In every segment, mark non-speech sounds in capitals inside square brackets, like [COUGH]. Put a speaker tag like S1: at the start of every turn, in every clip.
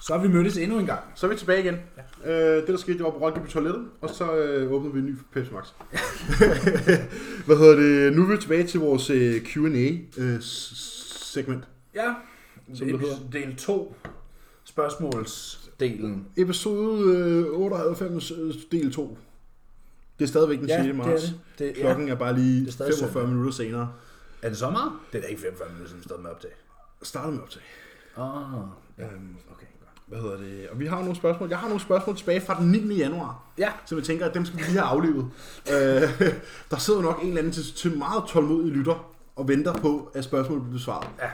S1: Så har vi mødtes endnu en gang.
S2: Så er vi tilbage igen. Ja. Øh, det, der skete, det var på Roskilde på toilettet, og så øh, åbnede vi en ny Pepsi
S1: [LAUGHS]
S2: Max. Hvad hedder det? Nu er vi tilbage til vores øh, Q&A-segment.
S1: Ja,
S2: Som det hedder.
S1: del 2. Spørgsmålsdelen.
S2: Episode øh, 98, øh, del 2. Det er stadigvæk den 6. marts.
S1: det. det
S2: Klokken
S1: ja.
S2: er bare lige
S1: er stadig
S2: 45
S1: søndag.
S2: minutter senere.
S1: Er det så meget? Det er da ikke 45 minutter, som vi startede med op til.
S2: Starter med optag.
S1: Åh, oh, ja. okay.
S2: Hvad hedder det? Og vi har nogle spørgsmål. Jeg har nogle spørgsmål tilbage fra den 9. januar.
S1: Ja,
S2: Så jeg tænker, at dem skal vi lige have aflevet. øh, der sidder nok en eller anden til, til meget tålmodig lytter og venter på, at spørgsmålet bliver besvaret.
S1: Ja.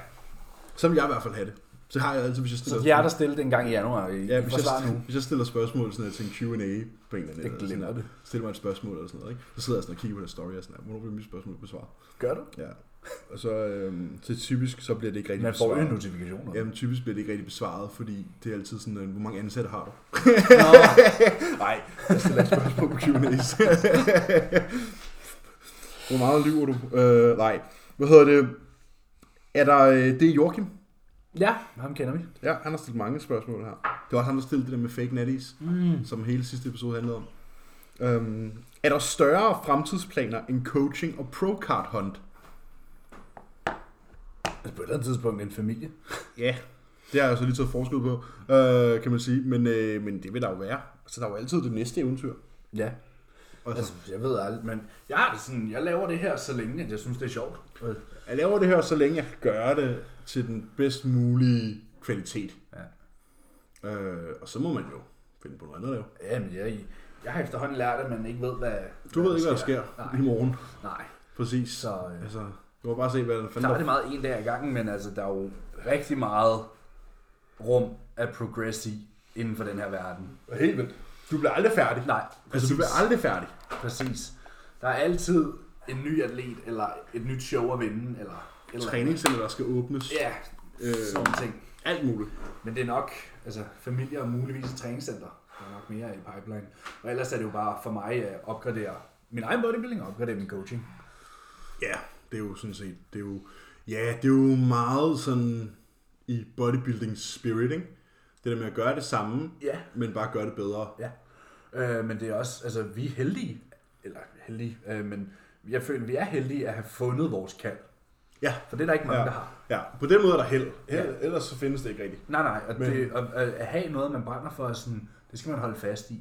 S2: Så vil jeg i hvert fald have det. Så har jeg altid, hvis jeg stiller,
S1: så jeg er der stille den gang i januar. I,
S2: ja,
S1: ja, I
S2: hvis,
S1: får svar
S2: jeg,
S1: nu.
S2: hvis jeg stiller spørgsmål sådan her, til en Q&A på en eller anden. eller sådan
S1: glemmer
S2: noget.
S1: det.
S2: Stiller mig et spørgsmål eller sådan noget. Ikke? Så sidder jeg sådan og kigger på deres story og sådan her. Hvornår bliver mit spørgsmål besvaret?
S1: Gør du?
S2: Ja. Og så, øhm, så typisk, så bliver det ikke rigtig
S1: Man får jo
S2: besvaret.
S1: notifikationer.
S2: Jamen typisk bliver det ikke rigtig besvaret, fordi det er altid sådan, øh, hvor mange ansatte har du?
S1: Nej.
S2: Jeg stiller et spørgsmål på Q&A's. [LAUGHS] Hvor meget lyver du? Øh, nej. Hvad hedder det? Er der, øh, det er Joachim.
S1: Ja, ham kender vi.
S2: Ja, han har stillet mange spørgsmål her. Det var også ham, der stillede det der med fake natties, mm. som hele sidste episode handlede om. Øhm, er der større fremtidsplaner end coaching og pro card hunt?
S1: Altså på et eller andet tidspunkt en familie.
S2: Ja. Det har jeg så lige taget forskud på, øh, kan man sige. Men, øh, men det vil der jo være. Så der er jo altid det næste eventyr.
S1: Ja.
S2: Og
S1: Altså, jeg ved aldrig, men jeg har det sådan, jeg laver det her så længe, at jeg synes, det er sjovt. Øh,
S2: Jeg laver det her, så længe jeg gør det til den bedst mulige kvalitet. Ja. Øh, og så må man jo finde på noget andet at lave.
S1: Jamen, jeg, jeg har efterhånden lært, at man ikke ved, hvad
S2: Du ved ikke, hvad der sker
S1: Nej,
S2: i morgen.
S1: nej.
S2: Præcis.
S1: Så øh,
S2: Altså, du må bare se, hvad der fanden
S1: der er det
S2: der...
S1: meget en dag i gangen, men altså, der er jo rigtig meget rum at progress i inden for den her verden.
S2: Helt vildt. Du bliver aldrig færdig.
S1: Nej,
S2: Altså,
S1: præcis.
S2: du bliver aldrig færdig.
S1: præcis. Der er altid en ny atlet, eller et nyt show at vinde, eller... eller
S2: Træningscenter, der skal åbnes.
S1: Ja,
S2: Øh.
S1: øh. sådan nogle ting.
S2: Alt muligt.
S1: Men det er nok, altså familie og muligvis et træningscenter. Der er nok mere i pipeline. Og ellers er det jo bare for mig at opgradere min egen bodybuilding og opgradere min coaching.
S2: Ja, det er jo sådan set... Det er jo, ja, det er jo meget sådan i bodybuilding spirit, ikke? Det der med at gøre det samme,
S1: Ja.
S2: men bare gøre det bedre.
S1: Ja. Øh, men det er også, altså vi er heldige, eller heldige, øh, men jeg føler, vi er heldige at have fundet vores kald.
S2: Ja,
S1: For det er der ikke mange, ja. der
S2: Ja,
S1: har.
S2: ja, på den måde er der held. held ja. Ellers så findes det ikke rigtigt.
S1: Nej, nej, og
S2: Men-
S1: men... det, at, at have noget, man brænder for, er sådan, det skal man holde fast i.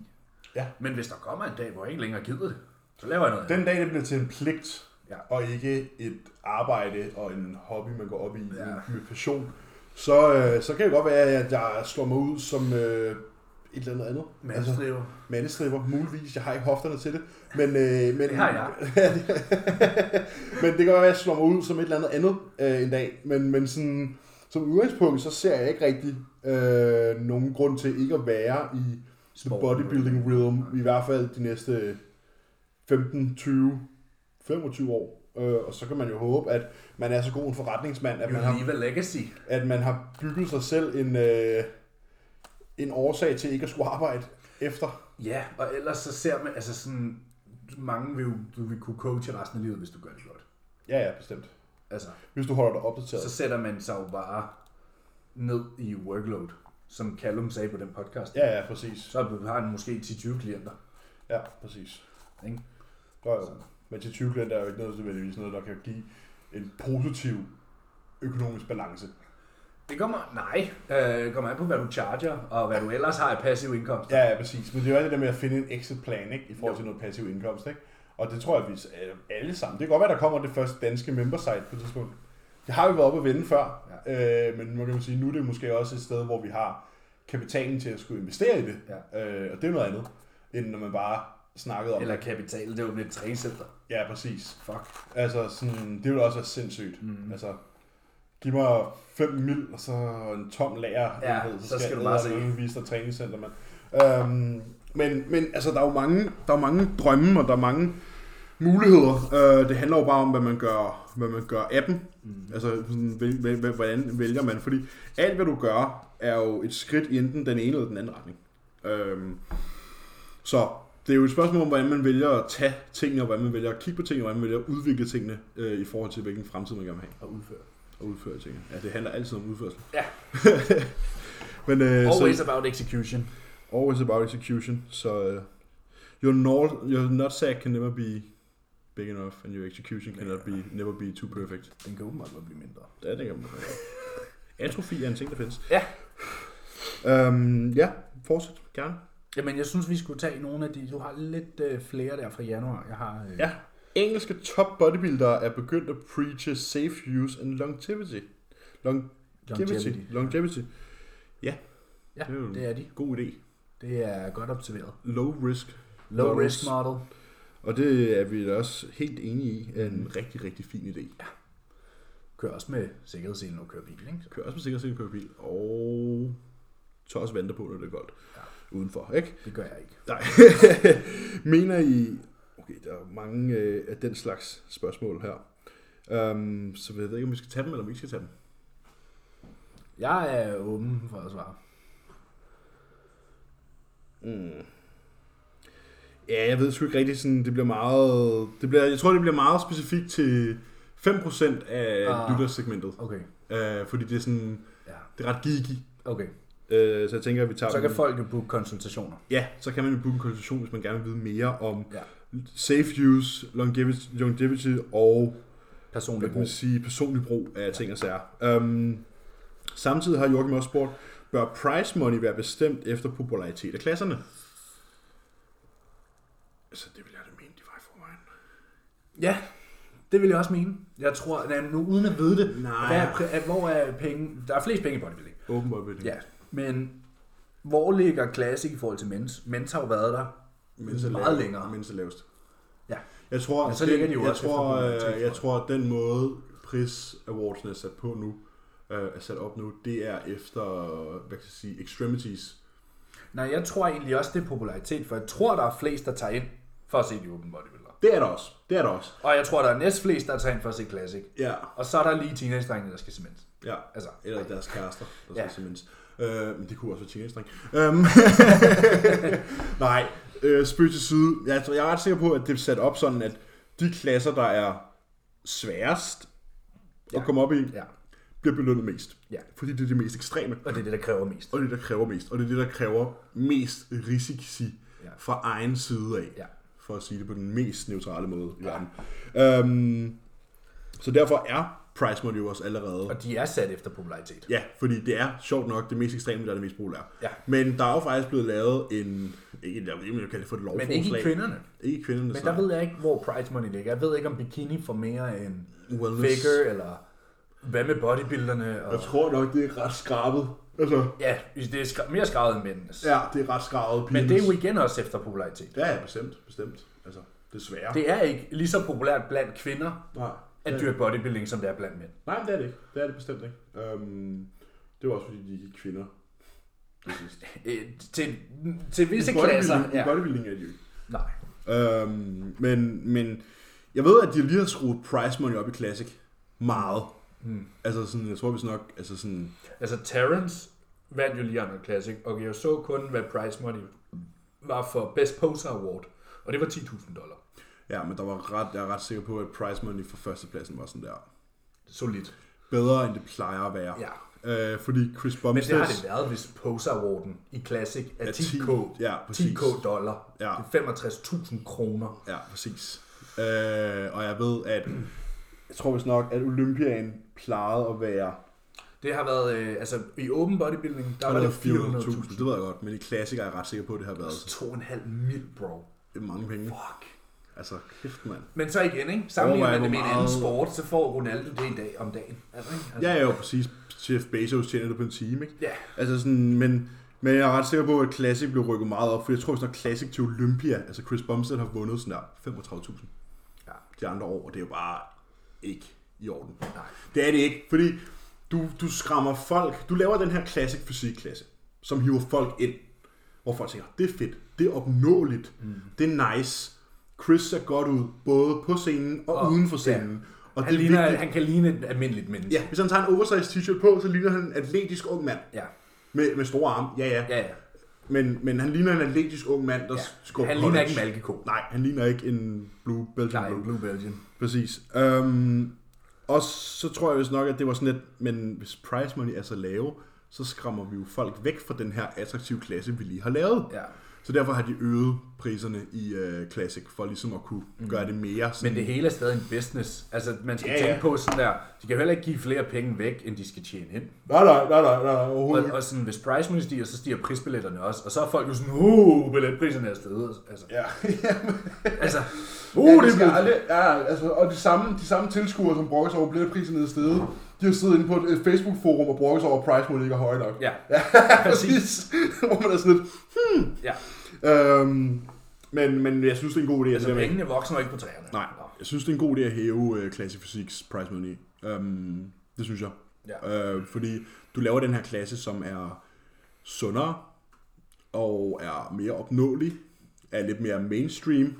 S2: Ja.
S1: Men hvis der kommer en dag, hvor jeg ikke længere gider det, så laver jeg noget andet.
S2: Den dag, det bliver til en pligt,
S1: Ja.
S2: og ikke et arbejde og en hobby, man går op i
S1: Ja.
S2: ja. med passion, så, øh, så kan det godt være, at jeg slår mig ud som øh, et eller andet andet.
S1: Mandestriver.
S2: mandestriber, muligvis. Jeg har ikke hofterne til det. Men, øh, men,
S1: Det har jeg.
S2: [LAUGHS] men det kan godt være, at jeg slår mig ud som et eller andet andet øh, en dag. Men, men sådan, som udgangspunkt, så ser jeg ikke rigtig øh, nogen grund til ikke at være i
S1: Sport.
S2: Sport. bodybuilding realm. I hvert fald de næste 15, 20, 25 år. Øh, og så kan man jo håbe, at man er så god en forretningsmand, at man har
S1: Unilever Legacy.
S2: at man har bygget sig selv en, øh, en årsag til ikke at skulle arbejde efter.
S1: Ja, og ellers så ser man, altså sådan, mange vil jo, du vil kunne coache resten af livet, hvis du gør det godt.
S2: Ja, ja, bestemt.
S1: Altså,
S2: Hvis du holder dig opdateret.
S1: så sætter man sig jo bare ned i workload, som Callum sagde på den podcast.
S2: Ja, ja, præcis.
S1: Så har han måske 10-20 klienter.
S2: Ja, præcis.
S1: Ikke?
S2: Jo, jo. Men til 20 klienter er jo ikke noget, nødvendigvis noget, der kan give en positiv økonomisk balance.
S1: Det kommer, nej, øh, det kommer an på, hvad du charger, og hvad du ellers har i passiv indkomst.
S2: Ja, ja, præcis. Men det er jo alt det der med at finde en exit-plan, ikke? I forhold til noget passiv indkomst, ikke? Og det tror jeg, vi er alle sammen. Det kan godt være, der kommer det første danske membersite på et tidspunkt. Det har vi været oppe at vende før, ja. øh, men man kan sige, nu er det måske også et sted, hvor vi har kapitalen til at skulle investere i det. Ja. Øh, og det er noget andet, end når man bare snakkede om
S1: Eller kapital, det er jo et træningscenter.
S2: Ja, præcis.
S1: Fuck.
S2: Altså, sådan, det ville også være sindssygt. Mm. Altså, giv mig 5 mil, og så en tom lager.
S1: Ja,
S2: enhed,
S1: så skal du bare se.
S2: Jeg vise dig træningscenter, mand. Øhm, men, men altså, der er jo mange, der er mange drømme, og der er mange muligheder. Øh, det handler jo bare om, hvad man gør, hvad man gør af dem. Mm. Altså, sådan, hvil- hvil- hvil- hvordan vælger man? Fordi alt, hvad du gør, er jo et skridt i enten den ene eller den anden retning. Øhm, så det er jo et spørgsmål om, hvordan man vælger at tage tingene, og hvordan man vælger at kigge på tingene, og hvordan man vælger at udvikle tingene øh, i forhold til, hvilken fremtid man gerne vil have
S1: Og udføre.
S2: og udføre tingene. Ja, det handler altid om udførsel.
S1: Ja.
S2: [LAUGHS] Men, øh,
S1: Always
S2: så,
S1: about execution.
S2: always about execution. Så øh, your, not, your nutsack can never be big enough, and your execution can never be, never be too perfect.
S1: Den kan åbenbart godt blive mindre.
S2: Det er det, kan man godt gøre. Atrofi er en ting, der findes.
S1: Ja.
S2: Øhm, ja, fortsæt gerne.
S1: Jamen, jeg synes, vi skulle tage nogle af de... Du har lidt øh, flere der fra januar. Jeg har... Øh,
S2: Ja. Engelske top bodybuildere er begyndt at preache safe use and longevity. Longevity.
S1: longevity.
S2: Longevity.
S1: Ja,
S2: Det er jo-
S1: det er de.
S2: God idé.
S1: Det er godt observeret.
S2: Low risk.
S1: Low
S2: Low
S1: risk
S2: risk.
S1: model.
S2: Og det er vi da også helt enige i er en rigtig, rigtig fin idé.
S1: Kører også med sikkerhedsselen og kører bil, ikke?
S2: Kør også på sikkerhed, køre bil. Og tør også vente på, når det er koldt. Ja. Udenfor, ikke?
S1: Det gør jeg ikke.
S2: Nej. [LAUGHS] Mener I... Okay, der er mange øh, af den slags spørgsmål her. Um, så jeg ved ikke, om vi skal tage dem, eller om vi ikke skal tage dem.
S1: Jeg er åben for at svare.
S2: Mm. Ja, jeg ved sgu ikke rigtigt, sådan, det bliver meget... Det bliver, jeg tror, det bliver meget specifikt til 5% af
S1: Ah.
S2: ah. lyttersegmentet.
S1: Okay,
S2: Uh, fordi det er sådan...
S1: ja.
S2: Det er ret geeky.
S1: Okay,
S2: Uh, så jeg tænker, at vi tager
S1: så kan
S2: dem-
S1: folk jo booke konsultationer.
S2: Ja, så kan man jo booke en konsultation, hvis man gerne vil vide mere om
S1: Ja.
S2: safe use, longevity, longevity og hvad
S1: Personlig
S2: kan
S1: brug.
S2: man sige, personlig brug af ting og sager. Um, samtidig har Joachim også spurgt, bør price money være bestemt efter popularitet af klasserne? Altså, det vil jeg da mene, de var i forvejen.
S1: Ja, det vil jeg også mene. Jeg tror, at nu uden at vide det,
S2: Nej.
S1: hvad er, pri- at hvor er penge... Der er flest penge i bodybuilding.
S2: Åbenbart ved det.
S1: Ja, men hvor ligger Classic i forhold til Mens? Mens har jo været der
S2: Mens er
S1: meget
S2: lavest.
S1: længere.
S2: Mens er lavest.
S1: Ja.
S2: Jeg tror,
S1: Men
S2: at
S1: så
S2: den,
S1: ligger de jo
S2: jeg,
S1: også
S2: tror,
S1: efter
S2: øh,
S1: popularitet,
S2: jeg
S1: tror
S2: tror, at den måde, pris awardsene er sat på nu, øh, er sat op nu, det er efter, hvad kan jeg sige, extremities.
S1: Nej, jeg tror egentlig også, det er popularitet, for jeg tror, der er flest, der tager ind for at se de open bodybuildere.
S2: Det er der også. Det er der også.
S1: Og jeg tror, der er næst flest, der tager ind for at se Classic.
S2: Ja.
S1: Og så er der lige teenage der skal se Mens.
S2: ja.
S1: Altså,
S2: Eller deres kærester, der
S1: Ja.
S2: ja. simpelthen. Øh, men det kunne også være teenage-dreng. Øhm, [LAUGHS] nej, øh, spøg til side. Jeg, tror- jeg er ret sikker på, at det er sat op sådan, at de klasser, der er sværest at komme op i,
S1: ja.
S2: bliver belønnet mest.
S1: Ja.
S2: Fordi det er det mest ekstreme,
S1: Og det er det, der kræver mest.
S2: og det er det, der kræver mest, og det er det, der kræver mest risici
S1: Ja.
S2: fra egen side af,
S1: Ja.
S2: for at sige det på den mest neutrale måde i verden. Øhm, så derfor er price money jo også allerede
S1: Og de er sat efter popularitet.
S2: Ja, fordi det er sjovt nok det mest ekstreme, der er det mest populære.
S1: Ja.
S2: Men der er jo faktisk blevet lavet en... Ikke, jeg ved ikke, om jeg kan kalde det for et lovforslag.
S1: Men ikke i kvinderne.
S2: Ikke i kvinderne,
S1: Men der ved jeg ikke, hvor prize money ligger. Jeg ved ikke, om bikini får mere end
S2: Wellness.
S1: figure, eller hvad med bodybuilderne. Og...
S2: Jeg tror nok, det er ret skrabet. Altså,
S1: Ja, det er skra- mere skravet end mændenes.
S2: ja, det er ret skrabet.
S1: Men det er jo
S2: penis.
S1: igen også efter popularitet.
S2: Ja, ja, bestemt, bestemt. Altså, desværre.
S1: Det er ikke lige så populært blandt kvinder
S2: Nej,
S1: at
S2: det-
S1: dyrke bodybuilding, som det er blandt mænd.
S2: Nej, men det er det ikke. Det er det bestemt ikke. Øhm, det var også, fordi de ikke er kvinder.
S1: [LAUGHS]
S2: Det sidste.
S1: Øh, til, til visse
S2: I
S1: klasser.
S2: bodybuilding-
S1: Ja.
S2: I bodybuilding er de jo ikke.
S1: Nej.
S2: Øhm, men, men jeg ved, at de lige har skruet price money op i Classic meget.
S1: Hmm.
S2: Mm. Altså sådan, jeg tror vist nok, altså sådan,
S1: Altså, Terrence vandt jo lige Arnold Classic, og jeg så kun, hvad prize money var for Best Poser Award, og det var 10.000 dollar.
S2: ja, men der var ret, jeg er ret sikker på, at price money for førstepladsen var sådan der.
S1: Solidt.
S2: Bedre, end det plejer at være.
S1: Ja.
S2: Øh, fordi Chris
S1: Men det har
S2: Bumstead,
S1: det været, hvis Poser Awarden i Classic er
S2: 10,
S1: 10k,
S2: ja, præcis.
S1: 10K dollar.
S2: Ja.
S1: Det er 65.000 kroner.
S2: Ja, præcis. Øh, og jeg ved, at jeg tror vist nok, at Olympian plejede at være
S1: Det har været, øh, altså i open bodybuilding, der var det 400.000.
S2: 400.000, det ved jeg godt, men i Classic er jeg ret sikker på, at det har været
S1: 2,5 mil, bro.
S2: mange penge.
S1: Fuck.
S2: Altså, kæft mand.
S1: Men så igen, ikke? Sammenligner
S2: Overvej,
S1: man det med
S2: hvor
S1: en anden
S2: meget-
S1: sport, så får Ronaldo det i dag om dagen. Altså, ikke? Altså,
S2: Ja, ja, jo, præcis. Jeff Bezos tjener det på en time, ikke?
S1: Ja.
S2: Altså sådan, men, men jeg er ret sikker på, at Classic blev rykket meget op, for jeg tror snart Classic til Olympia, altså Chris Bumstead har vundet sådan der 35.000
S1: Ja.
S2: de andre år, og det er jo bare ikke i orden.
S1: Nej.
S2: Det er det ikke, fordi du, du skræmmer folk, du laver den her Classic fysikklasse, som hiver folk ind, hvor folk tænker, det er fedt, det er opnåeligt, mm. det er nice, Chris ser godt ud, både på scenen og,
S1: Og-
S2: og uden for
S1: ja.
S2: scenen. Og
S1: Han,
S2: det er
S1: ligner,
S2: vigtigt.
S1: han kan ligne et almindeligt menneske.
S2: Ja, hvis han tager en oversized t-shirt på, så ligner han en atletisk ung mand.
S1: Ja.
S2: Med, med store arme, ja ja.
S1: Ja, ja.
S2: Men, men han ligner en atletisk ung mand, der ja. skubber
S1: Han ligner ikke en malkeko.
S2: Nej, han ligner ikke en blue Belgian
S1: Nej,
S2: blue.
S1: Blue Belgian.
S2: Præcis. Øhm, og så tror jeg vist nok, at det var sådan lidt, men hvis price money er så lave, så skræmmer vi jo folk væk fra den her attraktive klasse, vi lige har lavet.
S1: Ja.
S2: Så derfor har de øget priserne i øh, Classic, for ligesom at kunne gøre det mere.
S1: Mm. Men
S2: Sådan,
S1: det hele er stadig en business. Altså, man skal
S2: Ja,
S1: ja,
S2: ja.
S1: tænke på sådan der, de kan jo heller ikke give flere penge væk, end de skal tjene ind.
S2: Nej, nej, nej, nej, nej,
S1: Og,
S2: overhovedet.
S1: og sådan, hvis price money stiger, så stiger prisbilletterne også. Og så er folk jo sådan, uh, billetpriserne er stedet. Altså,
S2: Ja.
S1: altså
S2: Uh, ja, det,
S1: det
S2: det
S1: skal
S2: bliver aldrig, ja, altså, og de samme, de samme tilskuere, som brokkes over billetprisen i stedet, de har siddet inde på et, et Facebook-forum og brokkes over, at price mål ikke er høj nok.
S1: ja,
S2: [LAUGHS] præcis. Hvor man er sådan lidt, hmm.
S1: ja.
S2: øhm, men, men jeg synes, det er en god idé. at
S1: Altså,
S2: det der med-
S1: pengene vokser jo ikke på træerne.
S2: Nej,
S1: Nå.
S2: jeg synes, det er en god idé at hæve øh, klasse fysiks price money. Øhm, det synes jeg.
S1: Ja.
S2: Øh, fordi du laver den her klasse, som er sundere og er mere opnåelig, er lidt mere mainstream,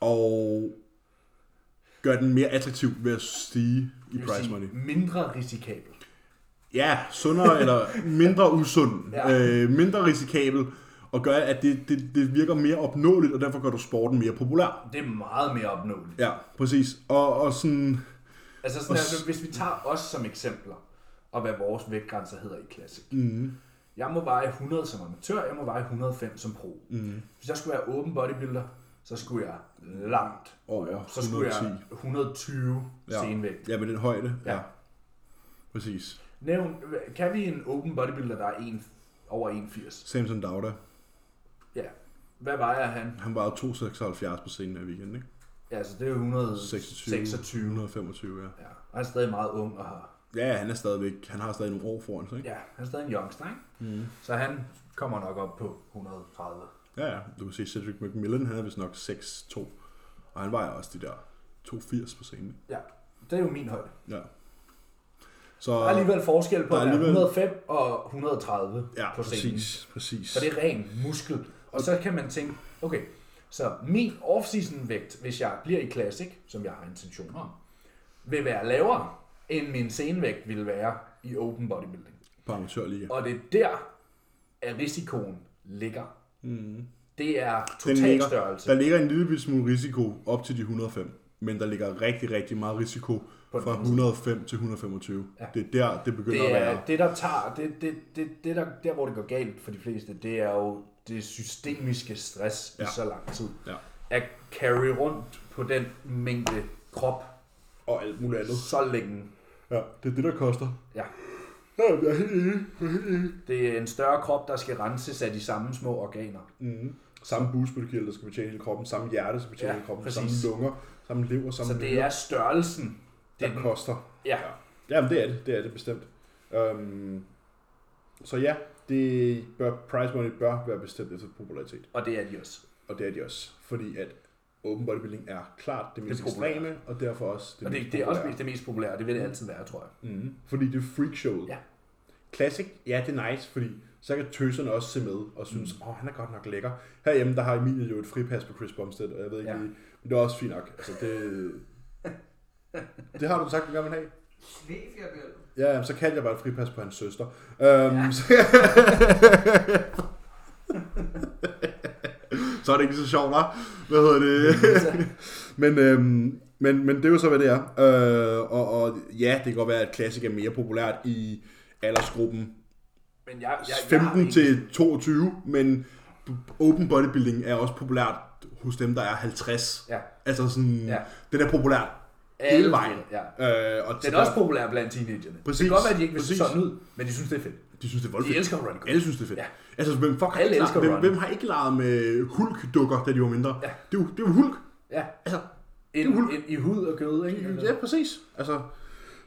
S1: Ja.
S2: og gør den mere attraktiv ved at stige i price money.
S1: Mindre risikabel.
S2: Ja,
S1: [LAUGHS]
S2: sundere eller mindre usund,
S1: Ja.
S2: øh, mindre risikabel, og gør, at det, det, det virker mere opnåeligt, og derfor gør du sporten mere populær.
S1: Det er meget mere opnåeligt.
S2: Ja, præcis. Og, og sådan,
S1: Altså sådan her, hvis vi tager os som eksempler, og hvad vores vægtgrænser hedder i Classic.
S2: mm,
S1: Jeg må veje 100 som amatør, jeg må veje 105 som pro. Mm. Hvis jeg skulle være open bodybuilder, så skulle jeg langt.
S2: over
S1: Så skulle
S2: 110.
S1: jeg 120 ja. senvægt.
S2: Ja, med den højde. Ja. ja.
S1: Ja.
S2: Præcis.
S1: Nævn, kan vi en open bodybuilder, der er en, over 1,80?
S2: Samson Dauda,
S1: Ja. Hvad vejer han?
S2: han var 276 på scenen her weekend, ikke?
S1: Ja, altså det er 126.
S2: 26,
S1: 26.
S2: 125, ja.
S1: Ja. Og han er stadig meget ung og har
S2: Ja, han er stadigvæk, han har stadig nogle år foran sig, ikke?
S1: Ja, han er stadig en youngster, ikke? Mm. Så han kommer nok op på 130.
S2: Ja, ja. Du kan se Cedric McMillan, han er vist nok 6'2, og han vejer også de der 280 på scenen. ikke?
S1: Ja, det er jo min højde.
S2: Ja. Så,
S1: Der er alligevel forskel på
S2: Der er
S1: at være
S2: alligevel-
S1: 105 og 130
S2: ja,
S1: på scenen.
S2: præcis, præcis.
S1: Så det er ren muskel. Og så kan man tænke, okay, så min off-season vægt, hvis jeg bliver i Classic, som jeg har intentioner om, vil være lavere, end min senvægt ville være i open bodybuilding.
S2: På amatørliga.
S1: Og det er der, at risikoen ligger. Mm. Det er
S2: Den
S1: total
S2: ligger-
S1: størrelse.
S2: Der ligger en lille bitte smule risiko op til de 105, men der ligger rigtig, rigtig meget risiko
S1: På den
S2: fra
S1: anden side.
S2: 105 til 125.
S1: Ja.
S2: Det er der, det begynder
S1: det
S2: at være.
S1: er det, der tager, det, det, det, det der, der, hvor det går galt for de fleste, det er jo det systemiske stress ja.
S2: Ja.
S1: i så lang tid.
S2: Ja.
S1: At carry rundt på den mængde krop
S2: Og alt muligt andet.
S1: så længe.
S2: Ja, det er det, der koster.
S1: Ja.
S2: Ja, jeg er helt enig.
S1: Det er en større krop, der skal renses af de samme små organer.
S2: Mm. Samme bugspytkirtel, der skal betjene hele kroppen, samme hjerte, der skal betjene
S1: Ja,
S2: hele kroppen,
S1: præcis.
S2: samme lunger, samme lever, samme
S1: Så det er størrelsen. Det
S2: der
S1: er den,
S2: koster.
S1: ja.
S2: Jamen, det er det, det er det bestemt. Øhm, så ja, det bør, price money bør være bestemt efter popularitet.
S1: Og det er de også.
S2: Og det er de også, fordi at open bodybuilding er klart det mest
S1: Det er populært.
S2: ekstreme, og derfor også det
S1: Og det,
S2: mest
S1: det er også
S2: populære.
S1: det mest populære, og det vil det altid være, tror jeg.
S2: Mm. Fordi det er freakshowet.
S1: Ja.
S2: Classic, ja, det er nice, fordi så kan tøserne også se med og synes,
S1: Mhm.
S2: åh, mm. oh, han er godt nok lækker. Herhjemme, der har Emilie jo et fripas på Chris Bumstead, og jeg ved ikke
S1: Ja.
S2: lige, men det er også fint nok. Altså, det,
S1: [LAUGHS]
S2: det har du sagt, du gerne vil have.
S3: Sneefjerbjørn.
S2: Ja, jamen, så kaldte jeg bare et fripas på hans søster. Øhm, ja. så... [LAUGHS] så er det ikke så sjovt, hva'? Hvad hedder det? men, øhm, men, men det er jo så, hvad det er. Øh, og, og ja, det kan godt være, at klassik er mere populært i aldersgruppen
S1: Men jeg, jeg, jeg, har
S2: 15
S1: egentlig-
S2: til 22, men open bodybuilding er også populært hos dem, der er 50.
S1: Ja.
S2: Altså sådan,
S1: Ja.
S2: det er populært hele
S1: Alle
S2: vejen.
S1: Ja.
S2: Øh, og
S1: Den er også populær blandt teenagerne.
S2: Præcis.
S1: Det kan godt være, at de ikke vil se
S2: Præcis.
S1: sådan ud, men de synes, det er fedt.
S2: De synes, det er voldfedt.
S1: De elsker at runne.
S2: Alle synes, det er fedt. Ja.
S1: Ja.
S2: Altså, hvem, fuck, har
S1: Alle
S2: ikke
S1: elsker
S2: leget- hvem,
S1: runne.
S2: hvem har ikke leget med hulk-dukker, da de var mindre?
S1: Ja.
S2: Det, er jo, det er jo hulk.
S1: Ja.
S2: Altså,
S1: En, en, I hud og kød, ikke?
S2: ja, præcis. Altså,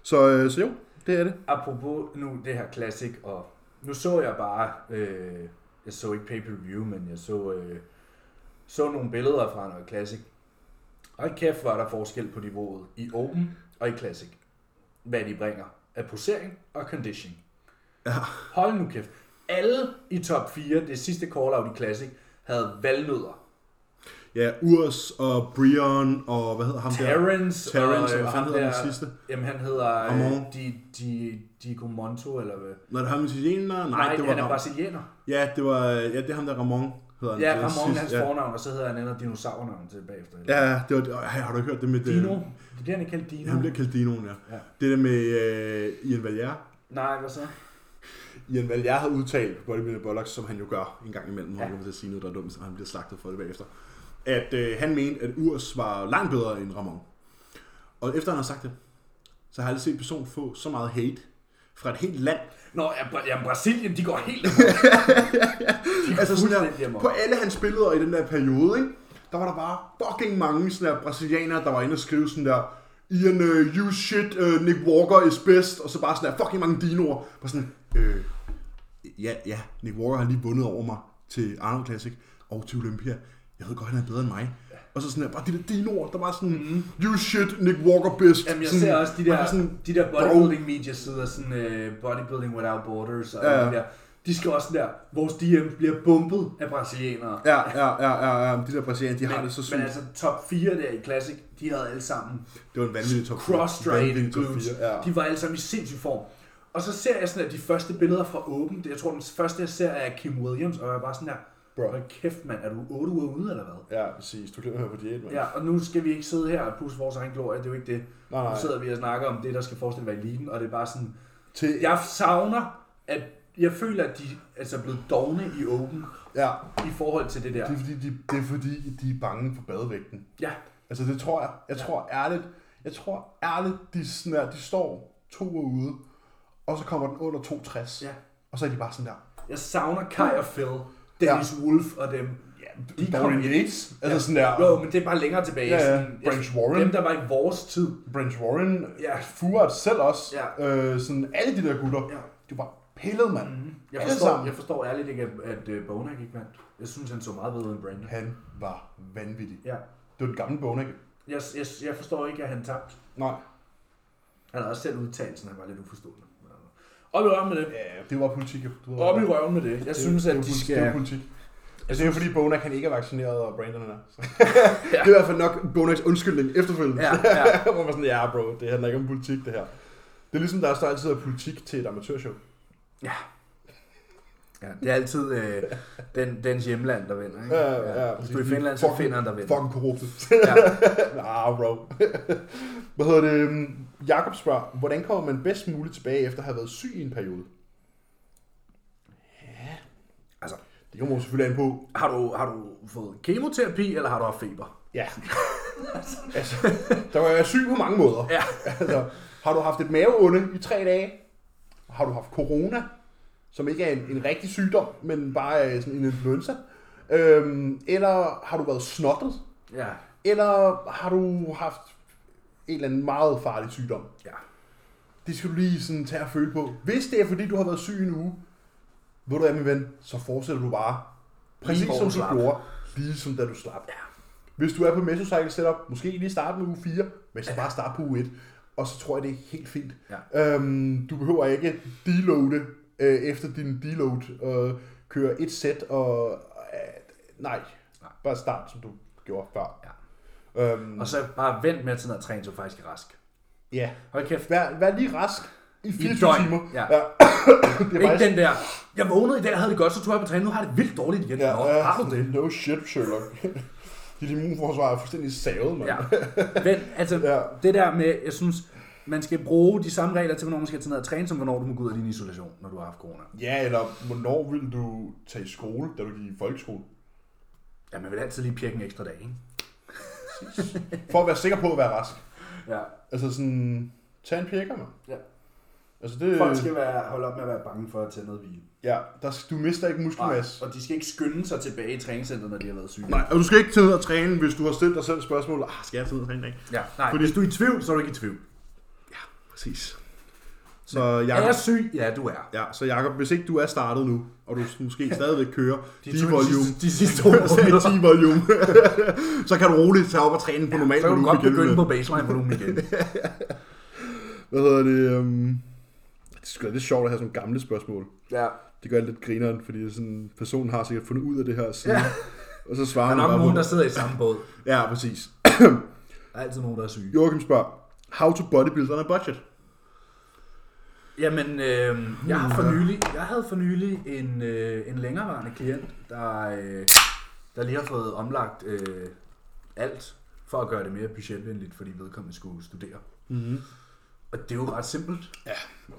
S2: så, øh, så jo, det er det.
S1: Apropos nu det her classic, og nu så jeg bare, øh, jeg så ikke pay-per-view, men jeg så, øh, så nogle billeder fra noget classic. Og kæft var der forskel på niveauet i
S2: Mm.
S1: open og i classic. Hvad de bringer af posering og condition.
S2: Ja.
S1: Hold nu kæft. Alle i top 4, det sidste call-out i classic, havde valnødder.
S2: Ja, Urs og Brion og hvad hedder ham der?
S1: Terrence,
S2: Terrence, og hvad
S1: og øh,
S2: fanden
S1: ham
S2: hedder den
S1: der,
S2: sidste?
S1: jamen han hedder
S2: Ramon.
S1: øh, Di, Di, Di Monto, eller hvad?
S2: Når det er ham italiener?
S1: Nej,
S2: Nej, Nej, det var
S1: han er
S2: ham.
S1: brasilianer.
S2: Ja, det var, ja, det er ham der Ramon, hedder han.
S1: Ja,
S2: Det er
S1: Ramon er hans
S2: ja.
S1: fornavn, og så hedder han andet dinosaurnavn til bagefter.
S2: Ja, det var, det- Ej, har du ikke hørt det med... øh, det-
S1: Dino. Det bliver han ikke kaldt Dino.
S2: Han bliver kaldt Dinoen, ja.
S1: Ja.
S2: Det der med øh, Ian Valier.
S1: Nej, hvad så?
S2: Ian Val, jeg havde udtalt Bodybuilder Bollocks, som han jo gør en gang imellem, ja.
S1: Ja.
S2: han kommer til at sige noget, der er dumt, og han bliver slagtet for det bagefter, at øh, han mente, at Urs var langt bedre end Ramon. Og efter han har sagt det, så har jeg aldrig set en person få så meget hate fra et helt land.
S1: Nå, ja, Bra- ja, Brasilien, de går helt
S2: Altså sådan
S1: fuldstændig
S2: der,
S1: amok.
S2: på alle hans billeder i den der periode, ikke? der var der bare fucking mange sådan der brasilianere, der var inde og skrive sådan der, Ian, uh, you shit, uh, Nick Walker is best, og så bare sådan der fucking mange dinoer. Bare sådan, øh, ja, ja, Nick Walker har lige vundet over mig til Arnold Classic og til Olympia. Jeg ved godt, han er bedre end mig. Og så sådan der, bare de der dinoer, der var sådan, mm. you shit, Nick Walker best.
S1: Mhm. Jamen, jeg
S2: sådan,
S1: ser også de
S2: man
S1: der,
S2: er
S1: sådan, de der bodybuilding medier sidder sådan uh, bodybuilding without borders og
S2: Ja, ja.
S1: ja. der. De skal også sådan der, vores DM bliver bumpet af brasilianere.
S2: Ja, ja, ja, ja, ja, de der brasilianere, de men, har det så sygt.
S1: men altså top 4 der i Classic, de havde alle sammen
S2: Altså, det var en vanvittig top fire.
S1: cross
S2: Vanvittig
S1: trained
S2: top
S1: glutes.
S2: fire, ja.
S1: De var alle sammen i sindssyg form. Og så ser jeg sådan, at de første billeder fra Open, det, jeg tror den første jeg ser er Kim Williams, og jeg er bare sådan der,
S2: Bro.
S1: Bro. kæft mand, er du 8 uger ude eller hvad?
S2: Ja, præcis. Du glemmer at være på diæt, mand.
S1: Ja, og nu skal vi ikke sidde her og pusse vores egen glorie, det er jo ikke det.
S2: Nej, nej.
S1: Nu sidder vi og snakker om det, der skal forestille at være eliten, og det er bare sådan,
S2: Til, ja.
S1: jeg savner, at jeg føler, at de altså, er blevet dogne i Open
S2: ja.
S1: i forhold til det der.
S2: Det, er fordi, de, det er fordi, de er bange for badevægten.
S1: Ja,
S2: Altså, det tror jeg. Jeg tror ærligt, jeg tror ærligt, de, er sådan der, de står to uger ude, og så kommer den under 62.
S1: Ja.
S2: Og så er de bare sådan der.
S1: jeg savner Kai og Phil, Dennis ja. Wolf og dem.
S2: De
S1: De kom
S2: Dorian
S1: ind.
S2: Yates. Altså sådan der.
S1: Jo, men det er bare længere tilbage.
S2: Ja, ja.
S1: Sådan,
S2: Branch
S1: jeg-
S2: Warren.
S1: Dem, der var i vores tid.
S2: Branch Warren,
S1: Ja.
S2: Furat selv også.
S1: Ja.
S2: Øh, sådan alle de der gutter.
S1: Ja. Mhm.
S2: De var pillet, mand.
S1: Jeg
S2: Alle
S1: forstår,
S2: sammen.
S1: jeg forstår ærligt ikke, at, at øh, Bonak ikke vandt. Jeg synes, han så meget bedre ud end Brandon.
S2: Han var vanvittig.
S1: Ja.
S2: Det var den gamle Bonek.
S1: Jeg, jeg, jeg forstår ikke, at han tabte.
S2: Nej.
S1: Han har også selv udtalt, sådan, at han var lidt uforstående. Op i røven med det.
S2: Ja, det var politik. jo. Du ved,
S1: Op i røven med det. Jeg synes, at
S2: det er jo
S1: de
S2: politik-
S1: skal...
S2: Det er jo politik. Altså, det er jo fordi Bonac han ikke er vaccineret, og Brandon er. [LAUGHS] Så. det er
S1: Ja.
S2: i hvert fald nok Bonacs undskyldning efterfølgende.
S1: Ja,
S2: Ja. [LAUGHS]
S1: ja.
S2: Hvor man er sådan, ja bro, det handler ikke om politik det her. Det er ligesom, der er altid er politik til et amatørshow.
S1: Ja. Ja, det er altid øh, den, dens hjemland, der vinder. Ikke? Hvis du er i Finland, så finder han, der vinder.
S2: Fucking korrupte.
S1: Ja.
S2: [LAUGHS] ah, bro. [LAUGHS] Hvad hedder det? øhm, Jakob spørger, hvordan kommer man bedst muligt tilbage efter at have været syg i en periode?
S1: Altså,
S2: Det kommer jo selvfølgelig an på.
S1: har du, har du fået kemoterapi, eller har du haft feber?
S2: Ja. altså, der kan være syg på mange måder.
S1: Ja.
S2: altså, har du haft et maveonde i tre dage? Har du haft corona, som ikke er en, en rigtig sygdom, men bare er sådan en influenza? Øhm, eller har du været snottet?
S1: Ja.
S2: Eller har du haft en eller anden meget farlig sygdom?
S1: Ja.
S2: Det skal du lige sådan tage og føle på. Hvis det er fordi, du har været syg en uge, ved du hvad, min ven, så fortsætter du bare. Præcis
S1: Lige hvor
S2: som
S1: du
S2: du
S1: slap.
S2: gjorde, lige som da du slap.
S1: Ja.
S2: Hvis du er på mesocycle setup, måske lige starte med uge 4, men så bare starte på uge 1, og så tror jeg, det er helt fint. Ja. Øhm, du behøver ikke deloade øh, efter din deload og køre et sæt og... Øh, nej.
S1: Nej.
S2: bare start, som du gjorde før.
S1: Ja.
S2: Øhm,
S1: Og så bare vent med at sådan at træne, så du faktisk er rask.
S2: ja.
S1: Hold kæft.
S2: Vær, vær lige rask i 24
S1: døgn.
S2: timer.
S1: Ja.
S2: ja. det er
S1: Ikke den der, jeg vågnede i dag, havde det godt, så tog jeg på træning, nu har jeg det vildt dårligt igen.
S2: Ja,
S1: Nå,
S2: ja.
S1: har du det?
S2: No shit, Sherlock. [LAUGHS] Dit immunforsvar er fuldstændig savet, mand.
S1: Ja. Men altså,
S2: Ja.
S1: ja. det der med, jeg synes, man skal bruge de samme regler til, hvornår man skal tage ned og træne, som hvornår du må gå ud af din isolation, når du har haft corona.
S2: ja, eller hvornår ville du tage i skole, da du gik i folkeskole?
S1: Ja, man vil altid lige pirke en ekstra dag, ikke?
S2: For at være sikker på at være rask.
S1: Ja.
S2: Altså sådan, tag en pirker, mand.
S1: Ja.
S2: Altså det,
S1: Folk skal være, holde op med at være bange for at tage noget hvile.
S2: ja, der, skal- du mister ikke muskelmasse.
S1: Og de skal ikke skynde sig tilbage i træningscenteret, når de har været syge.
S2: Nej, og du skal ikke tage ned og træne, hvis du har stillet dig selv spørgsmålet, ah, skal jeg tage ned og træne i dag?
S1: Ja, nej.
S2: Fordi-
S1: Fordi... Hvis du er i tvivl, så er du ikke i tvivl.
S2: Præcis. Så
S1: Er
S2: jeg...
S1: jeg syg? Ja, du er.
S2: Ja, så Jacob, hvis ikke du er startet nu, og du måske stadigvæk kører de,
S1: to-
S2: volume,
S1: sidste- [LAUGHS] de [LAUGHS] sidste to
S2: [LAUGHS] Sagde
S1: måneder.
S2: 10 volume. så kan du roligt tage op og træne på normal
S1: Så kan du
S2: volume
S1: godt
S2: igen,
S1: begynde
S2: men-
S1: på baseline volumen
S2: [LAUGHS]
S1: igen.
S2: Hvad hedder det? Um... Det skulle være lidt sjovt at have sådan nogle gamle spørgsmål.
S1: ja.
S2: Det gør jeg lidt grineren, fordi det er sådan, personen har sikkert fundet ud af det her siden. Ja.
S1: Ja.
S2: Og så svarer
S1: Der
S2: han
S1: er nok
S2: bare
S1: nogen, der
S2: på.
S1: sidder i samme båd.
S2: Ja, præcis.
S1: Der er altid nogen, der er syge.
S2: Joachim spørger, how to bodybuild on a budget?
S1: Jamen, øh, jeg, har for nylig, jeg havde for nylig en, øh, en længerevarende klient, der, øh, der lige har fået omlagt øh, alt for at gøre det mere budgetvenligt, fordi vedkommende skulle studere.
S2: Mm-hmm.
S1: Og det er jo ret simpelt.
S2: Ja.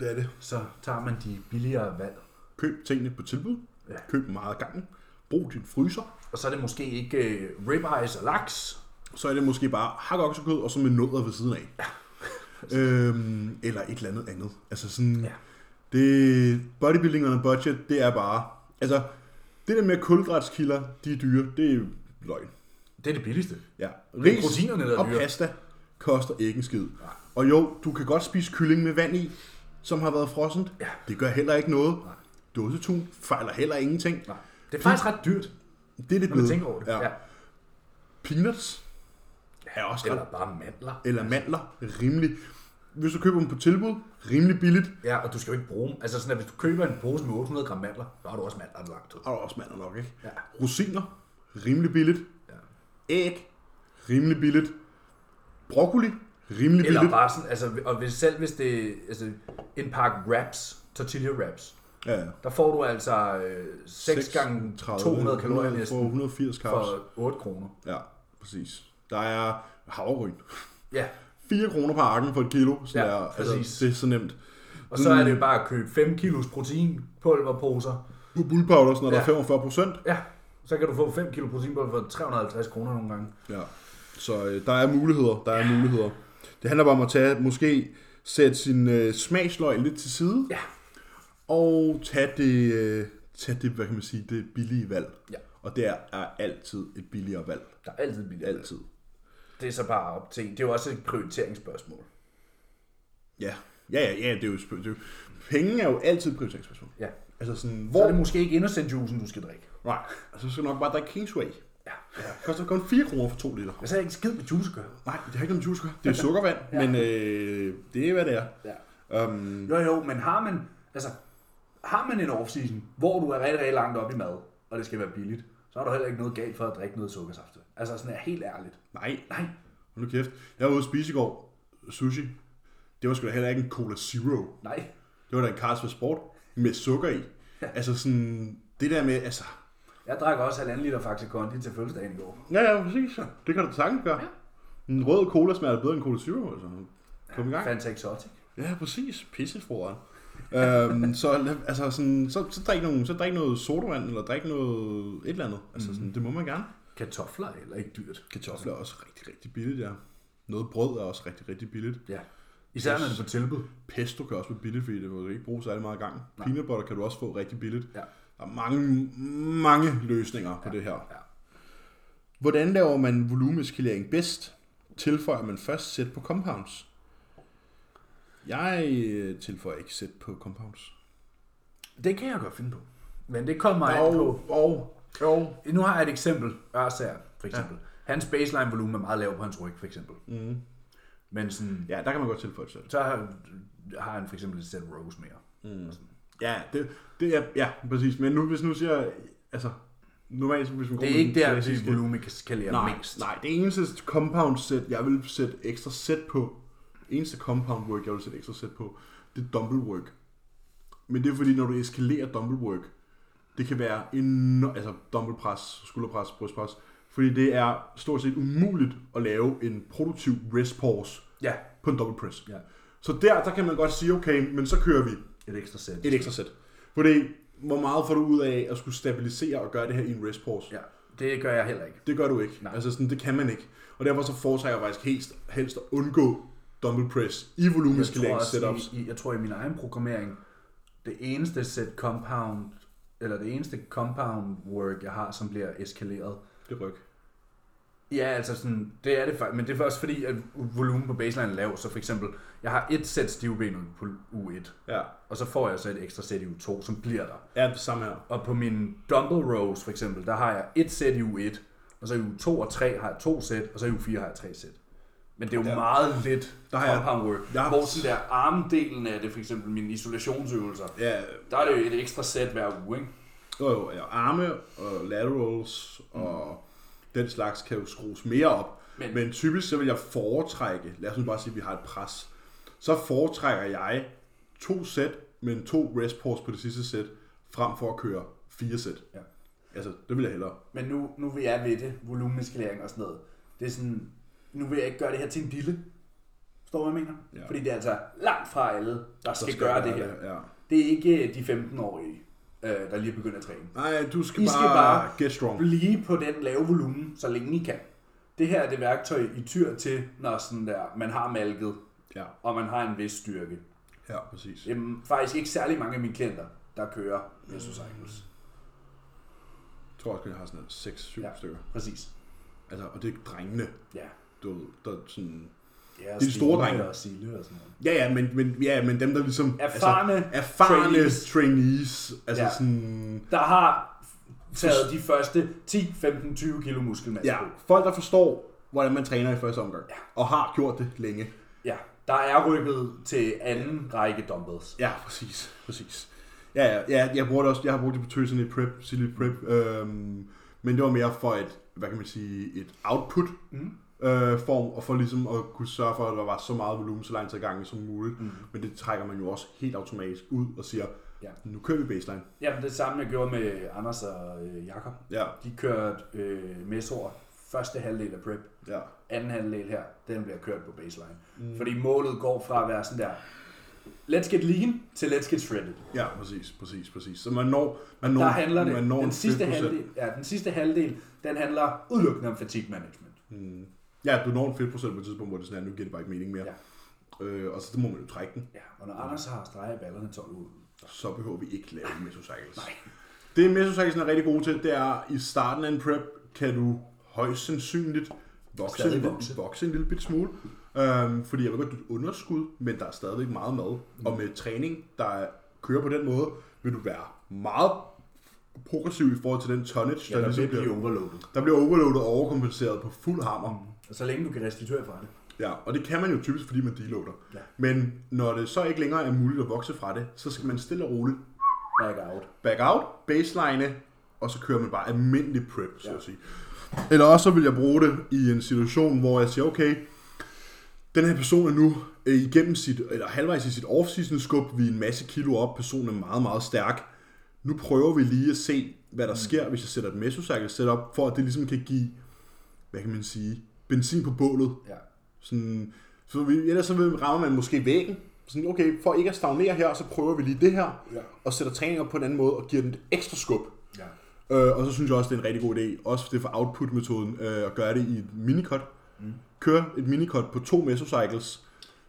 S2: Det er det.
S1: så tager man de billigere valg.
S2: Køb tingene på tilbud.
S1: Ja.
S2: Ja. Køb meget af gangen. Brug din fryser.
S1: Og så er det måske ikke øh, ribeyes og laks.
S2: Så er det måske bare hak oksekød, og så med nødder ved siden af. Ja. øhm, eller et eller andet andet. Altså sådan...
S1: Ja.
S2: Ja. Det, bodybuilding on a budget, det er bare... Altså, det der med at kulhydratskilder, de er dyre, det er løgn.
S1: Det er det billigste.
S2: Ja.
S1: er proteinerne, der er
S2: og
S1: dyre.
S2: pasta koster ikke en skid. Og jo, du kan godt spise kylling med vand i, som har været frossent.
S1: Ja.
S2: Det gør heller ikke noget. Dåsetun fejler heller ingenting.
S1: Nej. Det er faktisk ret dyrt,
S2: Det
S1: når
S2: er det
S1: man
S2: blevet.
S1: tænker over det.
S2: Ja. Ja. Peanuts er også
S1: Eller
S2: eller,
S1: bare mandler.
S2: eller mandler, rimelig. Hvis du køber dem på tilbud, rimelig billigt,
S1: Ja, og du skal jo ikke bruge dem. Altså sådan, at hvis du køber en pose med 800 gram mandler, så har du også mandler langt ud.
S2: har du også mandler nok, ikke?
S1: Ja.
S2: Rosiner, rimelig billigt.
S1: Ja.
S2: Æg, rimelig billigt. Broccoli, rimelig
S1: Eller
S2: billigt.
S1: bare sådan, altså, og hvis, selv hvis det altså, en pakke wraps, tortilla wraps,
S2: Ja, ja.
S1: der får du altså øh, 6 gange 200 kalorier
S2: For
S1: næsten
S2: 180 carbs.
S1: for 8 kroner.
S2: Ja, præcis. Der er havregryn.
S1: Ja,
S2: 4 kroner per arken for et kilo. Så
S1: Ja,
S2: ja, der,
S1: præcis.
S2: altså, det er så nemt.
S1: og så er det jo bare at købe 5 kilos proteinpulverposer.
S2: Bu- Bull powder, sådan noget, der
S1: Ja.
S2: er 45 procent.
S1: Ja, så kan du få 5 kilo proteinpulver for 350 kroner nogle gange.
S2: Ja. Så øh, der er muligheder, der er muligheder. Det handler bare om at tage, måske sætte sin øh, smagsløg lidt til side,
S1: Ja,
S2: og tage det, øh, tage det, hvad kan man sige, det billige valg.
S1: Ja.
S2: Og der er altid et billigere valg.
S1: der er altid billigt.
S2: Altid.
S1: Det er så bare op til en. Det er jo også et prioriteringsspørgsmål.
S2: Ja. Ja, ja, ja, det er jo, spø- det er jo penge er jo altid et prioriteringsspørgsmål.
S1: Ja.
S2: Altså sådan,
S1: Hvor... Så
S2: hvor...
S1: er det måske ikke innocent juicen, du skal drikke.
S2: Nej, altså, så skal du nok bare drikke Kingsway.
S1: Ja.
S2: Det koster kun 4 kroner for 2 liter.
S1: Jeg sagde ikke skid med juice at gøre.
S2: Nej, det har ikke noget med juice at gøre.
S1: [LAUGHS]
S2: Det er sukkervand, ja. men øh, det er, hvad det er.
S1: Ja.
S2: Um,
S1: Jo jo, men har man, altså, har man en off-season, hvor du er rigtig, rigtig langt op i mad, og det skal være billigt, så er der heller ikke noget galt for at drikke noget sukkersaft. Altså sådan er helt ærligt.
S2: nej,
S1: Nej,
S2: Hold nu kæft. Jeg var ude at spise i går. Sushi. Det var sgu da heller ikke en Cola Zero.
S1: nej.
S2: Det var da en Carlsberg Sport med sukker i. Altså sådan, det der med, altså...
S1: Jeg drak også halvanden liter Faxe Kondi til fødselsdagen i går.
S2: Ja, ja, præcis. Det kan du da sagtens gøre. En rød cola smager bedre end Cola Zero, altså. Kom i gang.
S1: Fanta Exotic.
S2: Ja, præcis. Pissefroren. øhm, så, lad- altså sådan, så, så, drik nogle, så drik noget sodavand, eller drik noget et eller andet. Altså sådan, det må man gerne.
S1: Kartofler er heller ikke dyrt.
S2: Kartofler er også rigtig, rigtig billigt, ja. Noget brød er også rigtig, rigtig billigt.
S1: Ja. Især når det er på tilbud.
S2: Pesto kan også være billigt, fordi det må du ikke bruge særlig meget gang. Peanut butter kan du også få rigtig billigt.
S1: Ja.
S2: Der er mange, mange løsninger på det her.
S1: ja.
S2: Hvordan laver man volumeskalering bedst? Tilføjer man først sæt på compounds? Jeg øh, tilføjer ikke sæt på compounds.
S1: Det kan jeg godt finde på. Men det kommer an på,
S2: Og, og, og.
S1: Nu har jeg et eksempel. Ørsager, for eksempel. Ja. Hans baseline volumen er meget lav på hans ryg, for eksempel. Mm. Men sådan,
S2: Ja, der kan man godt tilføje et sæt.
S1: så har, har han for eksempel et sæt rows mere. Mm.
S2: Ja, det, det er, ja, præcis. Men nu, hvis nu siger, jeg, altså, normalt, hvis man går
S1: Det
S2: med
S1: er
S2: den
S1: ikke der,
S2: klassiske-
S1: vi volumen kan skalere
S2: nej,
S1: mest.
S2: Nej, det eneste compound set, jeg vil sætte ekstra sæt på, eneste compound work, jeg vil sætte ekstra sæt på, det er dumbbell work. Men det er fordi, når du eskalerer dumbbell work, det kan være enormt, altså dumbbell pres, skulderpres, brystpres, fordi det er stort set umuligt at lave en produktiv rest pause
S1: Ja,
S2: på en double press.
S1: Ja.
S2: Så der, der kan man godt sige, okay, men så kører vi
S1: et ekstra sæt.
S2: et ekstra sæt. Fordi, hvor meget får du ud af at skulle stabilisere og gøre det her i en rest pause?
S1: Ja, det gør jeg heller ikke.
S2: Det gør du ikke.
S1: Nej.
S2: Nej. Altså sådan, det kan man ikke. Og derfor så foretrækker jeg faktisk helst, helst at undgå dumbbell press i
S1: Jeg tror,
S2: volumeskalering setups.
S1: også, i, i, jeg tror i min egen programmering, det eneste sæt compound, eller det eneste compound work, jeg har, som bliver eskaleret,
S2: Det ryg.
S1: Ja, altså sådan, det er det faktisk, men det er også fordi, at volumen på baseline er lav, så for eksempel, jeg har et sæt stivben på u 1,
S2: Ja.
S1: og så får jeg så et ekstra sæt i u 2, som bliver der.
S2: Ja, det samme her.
S1: Og på min dumbbell rows for eksempel, der har jeg et sæt i u 1, og så i u 2 og 3 har jeg to sæt, og så i u 4 har jeg tre sæt. Men det er jo der, meget lidt der
S2: har jeg-
S1: compound work,
S2: der har-
S1: hvor sådan der armdelen af det, for eksempel mine isolationsøvelser,
S2: Ja,
S1: der er det jo et ekstra sæt hver uge, ikke?
S2: jo, jo, ja. arme og laterals og den slags kan jo skrues mere op.
S1: Mm. Men-
S2: Men, Men typisk så vil jeg foretrække, lad os nu bare sige, at vi har et pres. Så foretrækker jeg to sæt, men to rest pause på det sidste sæt, frem for at køre fire sæt.
S1: Ja.
S2: Altså, det vil jeg hellere.
S1: Men nu, nu vil jeg ved det, volumeskalering og sådan noget. Det er sådan, nu vil jeg ikke gøre det her til en dille. Forstår du, hvad jeg mener?
S2: Ja.
S1: Ja. Fordi det er altså langt fra alle, der, der skal, skal gøre det her. Det.
S2: Ja.
S1: det er ikke de 15-årige, øh, der lige er begyndt at træne.
S2: Nej, du skal,
S1: I
S2: bare,
S1: skal bare
S2: get strong.
S1: Blive på den lave volumen, så længe I kan. Det her er det værktøj, I tyr til, når sådan der, man har malket,
S2: Ja,
S1: og man har en vis styrke.
S2: ja, præcis.
S1: Jamen, faktisk ikke særlig mange af mine klienter, der kører mesocycles.
S2: Jeg tror også, jeg har sådan 6-7
S1: Ja.
S2: stykker.
S1: Præcis.
S2: Altså, og det er drengene,
S1: Ja.
S2: du ved, der sådan...
S1: Ja, og
S2: de store
S1: Stine
S2: drenge.
S1: Og Sille og sådan noget.
S2: Ja, ja, men, men, ja, men dem, der ligesom...
S1: Erfarne,
S2: altså, erfarne trainees.
S1: trainees.
S2: trainees altså
S1: Ja.
S2: sådan...
S1: der har taget de første 10, 15, 20 kilo muskelmasse
S2: Ja,
S1: på.
S2: folk, der forstår, hvordan man træner i første omgang.
S1: Ja.
S2: Og har gjort det længe.
S1: Ja, der er rykket til anden række dumbbells.
S2: Ja, præcis, præcis. Ja, ja, ja jeg, bruger det også, jeg har brugt det på tøserne i prep, silly prep, øhm, men det var mere for et, hvad kan man sige, et output
S1: Mm.
S2: øh, form, og for ligesom at kunne sørge for, at der var så meget volumen så lang tid ad gangen som muligt.
S1: Mm.
S2: Men det trækker man jo også helt automatisk ud og siger,
S1: Ja.
S2: nu kører vi baseline.
S1: Jamen, det samme jeg gjorde med Anders og øh, Jakob.
S2: Ja,
S1: De kørte øh, mesoer første halvdel af prep.
S2: ja.
S1: Anden halvdel her, den bliver kørt på baseline.
S2: Mm.
S1: Mm. Fordi målet går fra at være sådan der, let's get lean til let's get shredded.
S2: Ja, præcis, præcis, præcis. Så man når, man når,
S1: Der handler
S2: man
S1: det.
S2: når
S1: Den
S2: en
S1: sidste,
S2: 5%.
S1: halvdel, ja, den sidste halvdel, den handler udelukkende om fatigue management.
S2: Mm. Ja, du når en fedtprocent på et tidspunkt, hvor det sådan er, nu giver det bare ikke mening mere.
S1: Ja.
S2: Øh, og så må man jo trække den.
S1: Ja, og når Anders har streger i ballerne 12 uger.
S2: så behøver vi ikke lave mesocycles.
S1: Nej.
S2: Det mesocycles er rigtig gode til, det er, at i starten af en prep kan du højst sandsynligt vokse, en,
S1: Stadig
S2: lille-
S1: vokse.
S2: vokse en lille bit smule. Øhm, fordi jeg ved godt, du er et underskud, men der er stadigvæk meget mad.
S1: Mm.
S2: Og med træning, der kører på den måde, vil du være meget progressiv i forhold til den tonnage,
S1: Ja,
S2: der,
S1: der
S2: ligesom
S1: bliver blive
S2: bliver,
S1: overloadet.
S2: der bliver overloadet og overkompenseret på fuld hammer.
S1: Og så længe du kan restituere fra det.
S2: Ja, og det kan man jo typisk, fordi man deloader.
S1: Ja.
S2: Men når det så ikke længere er muligt at vokse fra det, så skal man stille og roligt
S1: Back out.
S2: back out, baseline, og så kører man bare almindelig prep, så
S1: Ja.
S2: at sige. Eller også så vil jeg bruge det i en situation, hvor jeg siger, okay, den her person er nu øh, igennem sit, eller halvvejs i sit off-season skub, vi er en masse kilo op, personen er meget, meget stærk. Nu prøver vi lige at se, hvad der sker, hvis jeg sætter et mesocycle setup, for at det ligesom kan give, hvad kan man sige, benzin på bålet.
S1: Ja.
S2: Sådan, så vi, ellers så vil- rammer man måske væggen. Sådan, okay, for ikke at stagnere her, så prøver vi lige det her,
S1: Ja.
S2: og sætter træning op på en anden måde, og giver den et ekstra skub.
S1: ja.
S2: Øh, og så synes jeg også, det er en rigtig god idé, også det for output-metoden, øh, at gøre det i et minicut. Mm. Køre et minicut på to mesocycles,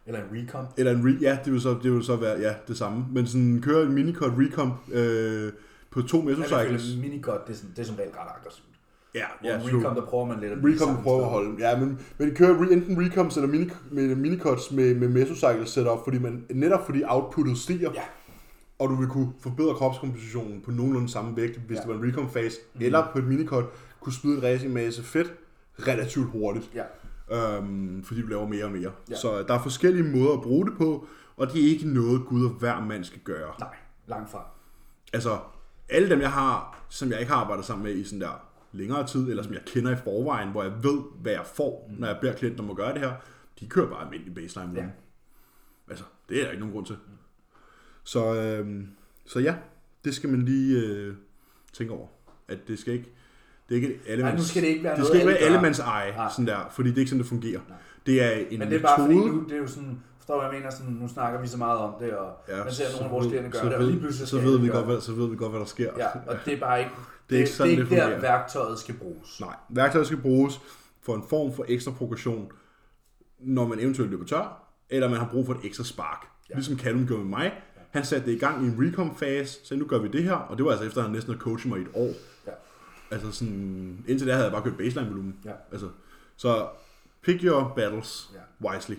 S1: Eller en recomp.
S2: eller en re- ja, det vil, så, det vil så være ja, det samme, men sådan køre en minicut recomp øh, på to mesocycles.
S1: Cycles. Minicut, det er, sådan, det er som regel ret aggressivt.
S2: Ja,
S1: Hvor en
S2: absolut.
S1: recomp, der prøver man lidt at blive
S2: Recom
S1: samme
S2: prøver at
S1: sted.
S2: holde. Ja, men, men de kører re- enten recoms eller mini, med, minicuts med, med mesocycle setup, fordi man, netop fordi outputtet stiger,
S1: Ja.
S2: og du vil kunne forbedre kropskompositionen på nogenlunde samme vægt, hvis
S1: Ja. Mhm.
S2: det var en recom fase, mm. eller på et minicut, kunne smide en racing masse fedt relativt hurtigt,
S1: Ja.
S2: øhm, fordi du laver mere og mere.
S1: Ja.
S2: Så der er forskellige måder at bruge det på, og det er ikke noget, Gud og hver mand skal gøre.
S1: Nej, langt fra.
S2: Altså, alle dem, jeg har, som jeg ikke har arbejdet sammen med i sådan der længere tid, eller som jeg kender i forvejen, hvor jeg ved, hvad jeg får, når jeg beder klienten om at gøre det her, de kører bare almindelig baseline ja.
S1: Ja.
S2: Altså, det er der ikke nogen grund til. Så, øh, så ja, det skal man lige øh, tænke over. At det skal ikke... Det er ikke alle
S1: Nej, nu skal det ikke være
S2: det
S1: noget,
S2: skal ikke være
S1: alle gør.
S2: allemands eje,
S1: Nej.
S2: sådan der, fordi det er ikke sådan, det fungerer. Nej. Det er en
S1: Men det er bare fordi nu, det er jo sådan, forstår du, hvad jeg mener, sådan, nu snakker vi så meget om det, og ja, man ser
S2: så
S1: nogle af vores
S2: ved-
S1: klienter
S2: så
S1: gøre det, og
S2: ved-
S1: lige pludselig
S2: så
S1: skal
S2: ved
S1: alle
S2: vi
S1: gøre
S2: godt, hvad, så ved vi godt, hvad der sker.
S1: Ja, og det er bare ikke,
S2: Det er ikke sådan,
S1: det, er
S2: det
S1: ikke der,
S2: fungerer.
S1: værktøjet skal bruges.
S2: Nej, værktøjet skal bruges for en form for ekstra progression, når man eventuelt løber tør, eller man har brug for et ekstra spark. Ja. Ligesom Callum gjorde med mig. Han satte det i gang i en recom-fase, så nu gør vi det her, og det var altså efter, at han næsten havde coachet mig i et år.
S1: Ja.
S2: Altså sådan, indtil da havde jeg bare kørt baseline-volumen.
S1: Ja.
S2: Altså, så pick your battles
S1: Ja.
S2: wisely.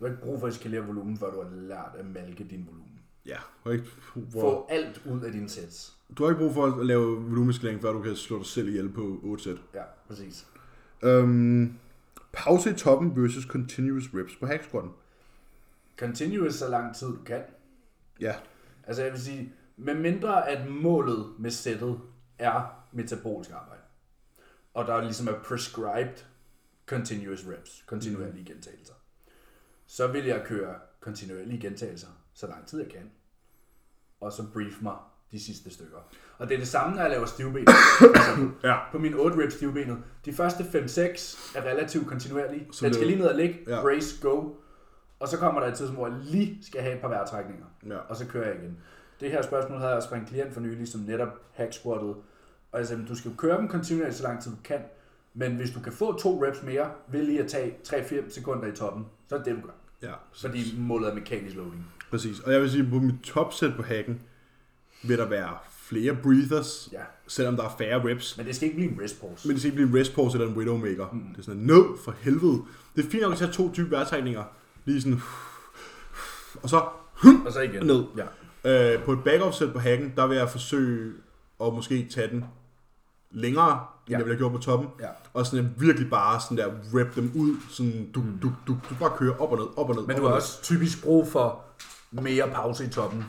S1: Du har ikke brug for at eskalere volumen, før du har lært at malke din volumen.
S2: Ja, du har ikke,
S1: Få
S2: for...
S1: alt ud af dine sets.
S2: du har ikke brug for at lave volumeskalering, før du kan slå dig selv ihjel på 8 sæt.
S1: Ja, præcis.
S2: Øhm, pause i toppen versus continuous reps på hack squatten.
S1: Continuous så lang tid du kan.
S2: Ja,
S1: Altså jeg vil sige, med mindre at målet med sættet er metabolisk arbejde, og der ligesom er prescribed continuous reps,
S2: Mm.
S1: kontinuerlige gentagelser, så vil jeg køre kontinuerlige gentagelser, så lang tid jeg kan, og så brief mig de sidste stykker. Og det er det samme, når jeg laver stivbenet. altså,
S2: [COUGHS] Ja.
S1: På min 8 reps stivbenet. De første 5-6 er relativt kontinuerlige.
S2: Så
S1: Den
S2: laver-
S1: skal lige ned og ligge.
S2: Ja.
S1: Ja. Brace, go. Og så kommer der et tidspunkt, hvor jeg lige skal have et par vejrtrækninger,
S2: Ja.
S1: og så kører jeg igen. Det her spørgsmål havde jeg også fra en klient for nylig, som netop hacksquattede. Og jeg sagde, du skal jo køre dem kontinuerligt så lang tid du kan, men hvis du kan få to reps mere, ved lige at tage 3-4 sekunder i toppen, så er det det, du gør.
S2: ja.
S1: Fordi målet er mekanisk loading.
S2: Præcis. Og jeg vil sige, på mit topsæt på hacken, vil der være flere breathers,
S1: Ja.
S2: selvom der er færre reps.
S1: Men det skal ikke blive en rest pause.
S2: Men det skal ikke blive en rest pause eller en widowmaker. Mm. Det er sådan, no, for helvede. Det er fint nok at tage to dybe vejrtrækninger. Lige sådan, og så
S1: og så igen.
S2: ned.
S1: Ja.
S2: Øh, på et back set på hacken, der vil jeg forsøge at måske tage den længere, end
S1: Ja.
S2: ja. jeg ville have gjort på toppen.
S1: Ja.
S2: Og sådan jeg virkelig bare sådan der, rip dem ud, sådan du, du, du, du bare kører op og ned, op og ned.
S1: Mm. Men
S2: op
S1: du
S2: og
S1: har
S2: ned.
S1: også typisk brug for mere pause i toppen.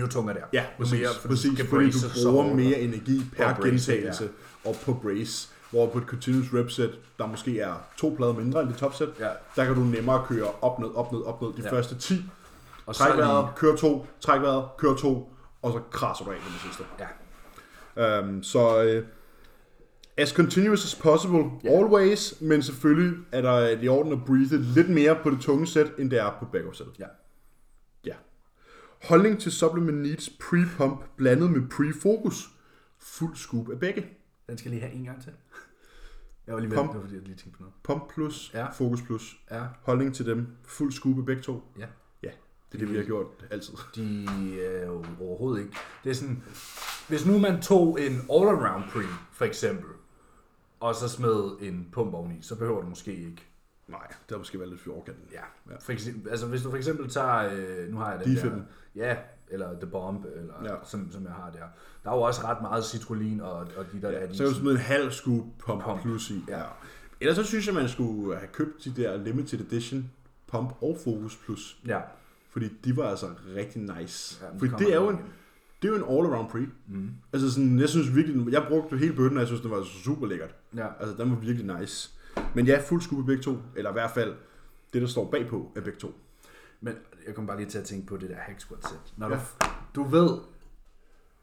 S1: Jo tungere der.
S2: Ja, præcis,
S1: mere,
S2: mere,
S1: fordi
S2: præcis
S1: du kan
S2: fordi
S1: brace
S2: du
S1: så
S2: bruger
S1: hårdt.
S2: mere energi per
S1: brace,
S2: gentagelse og på brace. Hvor på et continuous rep set, der måske er to plader mindre end det topset,
S1: Ja.
S2: der kan du nemmere køre op, ned, op, ned, op, ned de
S1: Ja.
S2: første 10.
S1: Og så
S2: Træk vejret,
S1: lige,
S2: kør to, træk vejret, kør to, og så krasser du af med det sidste.
S1: ja.
S2: Um, så øh, as continuous as possible, yeah. always, men selvfølgelig er der et i orden at breathe lidt mere på det tunge sæt, end det er på back sæt.
S1: ja.
S2: Ja. Holdning til supplement needs pre-pump blandet med pre-fokus. Fuld scoop af begge.
S1: Den skal lige have en gang til. Jeg var lige
S2: Kom.
S1: det var fordi jeg lige tænkte på noget.
S2: Pump plus,
S1: Ja.
S2: ja. fokus plus.
S1: Ja,
S2: Holdning til dem. Fuld scoop af begge to.
S1: ja.
S2: Ja, det er det, vi har gjort altid.
S1: De er jo overhovedet ikke. Det er sådan, hvis nu man tog en all-around pre, for eksempel, og så smed en pump oveni, så behøver du måske ikke.
S2: Nej, det har måske været lidt for i overkanten.
S1: Ja, for eksempel, altså hvis du for eksempel tager, øh, nu har jeg den
S2: Difen.
S1: der, ja, eller The Bomb, eller ja.
S2: Ja.
S1: som, som jeg har der. Der er jo også ret meget citrullin og, og de der, ja,
S2: Ja, så kan du smide en halv scoop pump,
S1: Pump.
S2: pump. plus i.
S1: Ja.
S2: Ellers så synes jeg, man skulle have købt de der limited edition pump og fokus plus.
S1: ja,
S2: Fordi de var altså rigtig nice.
S1: Ja,
S2: Ja,
S1: men
S2: fordi
S1: kommer
S2: det er,
S1: den
S2: jo en,
S1: igen.
S2: det er jo en all-around pre. Mm. Altså sådan, jeg synes virkelig, jeg brugte hele bøtten, og jeg synes, den var super lækkert.
S1: ja.
S2: Altså, den var virkelig nice. Men ja, fuld skub af begge to. Eller i hvert fald, det der står bagpå af begge to.
S1: Men jeg kom bare lige til at tænke på det der hack squat sæt. Når ja. du, du ved,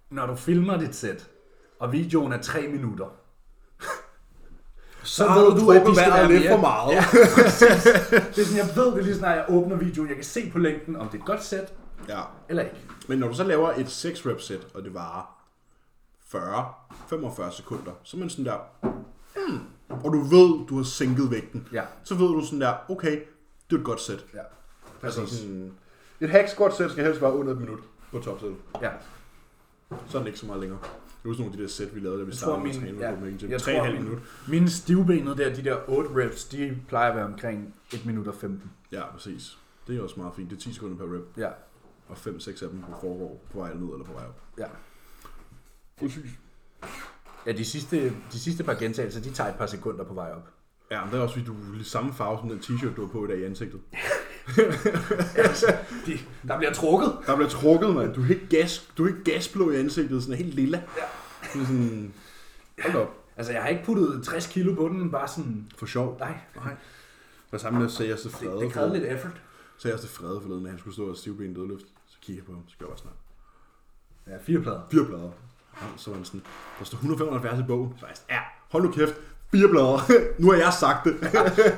S1: når du filmer dit sæt, og videoen er 3 minutter,
S2: Så
S1: ved du, at de skal være
S2: lidt
S1: mere.
S2: for meget.
S1: Ja,
S2: Ja.
S1: præcis. Det er sådan, jeg ved det lige snart, jeg åbner videoen. Jeg kan se på længden, om det er et godt sæt
S2: ja.
S1: eller ikke.
S2: Men når du så laver et 6 rep set og det varer 40, 45 sekunder, så er man sådan der, hmm, og du ved, du har sænket vægten,
S1: Ja.
S2: så ved du sådan der, okay, det er et godt sæt.
S1: Ja,
S2: Altså
S1: præcis.
S2: sådan, et hack squat sæt skal helst være under et minut på topsættet.
S1: Ja.
S2: Så er den ikke så meget længere. Jeg husker nogle af de der sæt, vi lavede, da vi
S1: Jeg tror,
S2: startede med at
S1: min,
S2: træne
S1: ja,
S2: på Magen Gym.
S1: jeg
S2: 3,5
S1: tror, min,
S2: minutter.
S1: mine stivbenede der, de der 8 reps, de plejer at være omkring 1 minut og 15.
S2: Ja, præcis. Det er også meget fint. Det er 10 sekunder per rep,
S1: Ja,
S2: og 5-6 af dem foregår på vej ned eller på vej op.
S1: ja.
S2: Præcis.
S1: Ja, de sidste, de sidste par gentagelser, de tager et par sekunder på vej [LAUGHS] op.
S2: Ja, men det er også fordi, du er lige samme farve som den t-shirt, du har på i dag i ansigtet.
S1: Altså, De, der bliver trukket.
S2: Der bliver trukket, mand. Du er helt, gas, du er helt gasblå i ansigtet, sådan helt lilla.
S1: Ja.
S2: Sådan, sådan hold da op.
S1: Altså, jeg har ikke puttet 60 kilo på den, bare sådan,
S2: For sjov.
S1: nej,
S2: Nej. Var sammen med Sejerste
S1: det,
S2: Frede.
S1: det krævede lidt effort.
S2: Sejerste Frede forleden, da han skulle stå og stivben dødløft. Så kiggede jeg på ham, så gjorde jeg bare sådan her.
S1: Ja, fire plader.
S2: Fire blader. Og så var han sådan, der står 175 i bogen. Så var jeg sådan, ja, hold nu kæft. Fire blader. [LAUGHS] nu har jeg sagt det.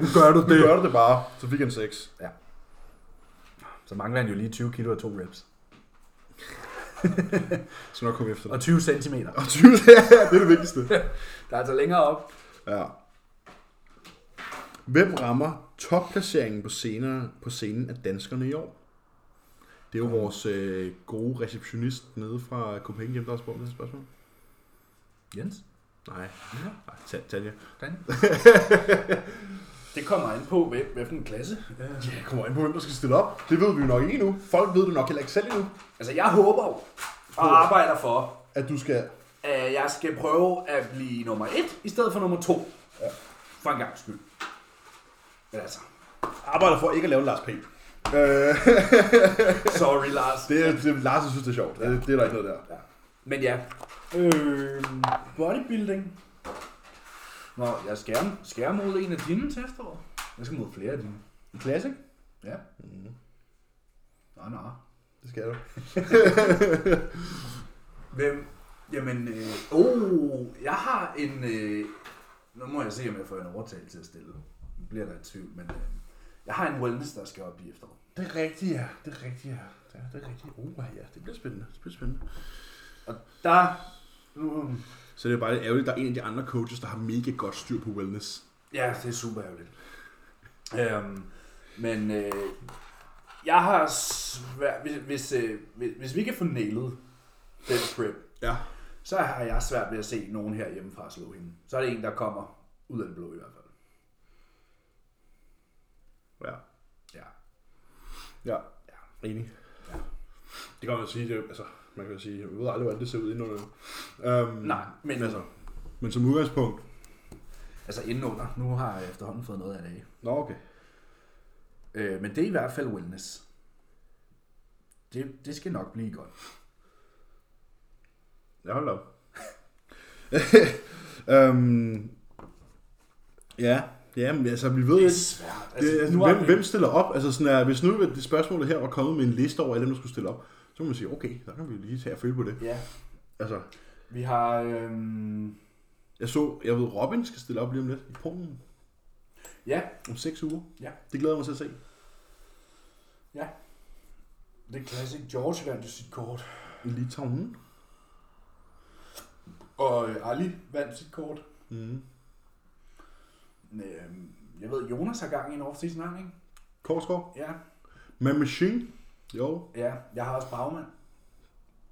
S1: Nu gør du
S2: Nu [LAUGHS] gør du det bare. Så fik han seks.
S1: Ja. Så mangler han jo lige 20 kilo og to reps.
S2: Så nok komme efter
S1: Og
S2: det.
S1: 20 centimeter.
S2: Og 20, [LAUGHS] ja, det er det vigtigste.
S1: Der er altså længere op.
S2: Ja. Hvem rammer topplaceringen på, scener, på scenen af danskerne i år? Det er jo vores øh, gode receptionist nede fra Copenhagen Gym, der har spurgt om det her spørgsmål.
S1: Jens?
S2: Nej,
S1: Ja.
S2: nej Ta- Tanja.
S1: Dan? [LAUGHS] det kommer an på, hvad, hvad for en klasse. Ja.
S2: Ja, kommer ind på, hvem der skal stille op. Det ved vi jo nok ikke endnu. Folk ved det nok heller ikke selv endnu,
S1: Altså, jeg håber jo, og arbejder for,
S2: at du skal...
S1: at jeg skal prøve at blive nummer et, i stedet for nummer to. Ja. For en gang skyld. Men altså,
S2: Arbejder for ikke at lave en Lars P. Øh, [LAUGHS]
S1: sorry Lars.
S2: Det, er- det Lars, jeg synes, det er sjovt. Det, det er der ikke noget der.
S1: Ja. Men ja. Øh, bodybuilding. Nå, jeg skærer, skærer mod en af dine til efterår. Jeg skal mod flere af dine.
S2: Classic?
S1: Ja. Mm. Nå, nå.
S2: Det skal du.
S1: Hvem? Jamen, øh, oh, jeg har en... Øh, nu må jeg se, om jeg får en overtagelse til at stille. Nu bliver der i tvivl, men øh, jeg har en wellness, der skal op i efteråret.
S2: Det er rigtigt, ja. Det er rigtigt, ja. Det er, det er rigtigt. Oh, ja. Det bliver spændende. Det bliver spændende.
S1: Og der... Mm,
S2: Så det er bare lidt ærgerligt, at der er en af de andre coaches, der har mega godt styr på wellness.
S1: Ja, det er super ærgerligt. Øhm, men øh, jeg har svært... Hvis, hvis, øh, hvis, hvis vi kan få nailet den prep,
S2: Ja.
S1: så har jeg svært ved at se nogen her hjemmefra slå hende. Så er det en, der kommer ud af det blå i hvert fald.
S2: Ja.
S1: Ja.
S2: Ja. ja. Enig. Ja. Det kan man jo sige, det, er jo- altså, man kan jo sige, jeg ved aldrig, hvordan det ser ud indenunder. Øhm,
S1: Nej, men-
S2: altså, men som udgangspunkt,
S1: Altså indenunder. Nu har jeg efterhånden fået noget af det af.
S2: nå okay.
S1: Øh, men det er i hvert fald wellness. Det, det skal nok blive godt.
S2: Ja, hold da
S1: [LAUGHS]
S2: op. [LAUGHS] øhm, ja, ja, men altså, vi ved
S1: Det er
S2: ikke,
S1: svært.
S2: det, altså,
S1: nu har
S2: hvem,
S1: vi-
S2: hvem stiller op? Altså, sådan, er, hvis nu det spørgsmålet her var kommet med en liste over alle dem, der skulle stille op, så må man sige, okay, der kan vi lige tage og føle på det.
S1: Ja,
S2: Altså,
S1: vi har... Øhm,
S2: jeg så, jeg ved, Robin skal stille op lige om lidt i Polen
S1: ja,
S2: om 6 uger.
S1: Ja.
S2: Det glæder jeg mig til at se.
S1: det er classic. George vandt jo sit kort.
S2: I Litauen.
S1: Og øh, Ali vandt sit kort.
S2: Mm.
S1: Øhm, jeg ved, Jonas har gang i en off-season, har han ikke?
S2: Korsgaard.
S1: Ja,
S2: Med Machine. Jo,
S1: ja. Jeg har også Bagman.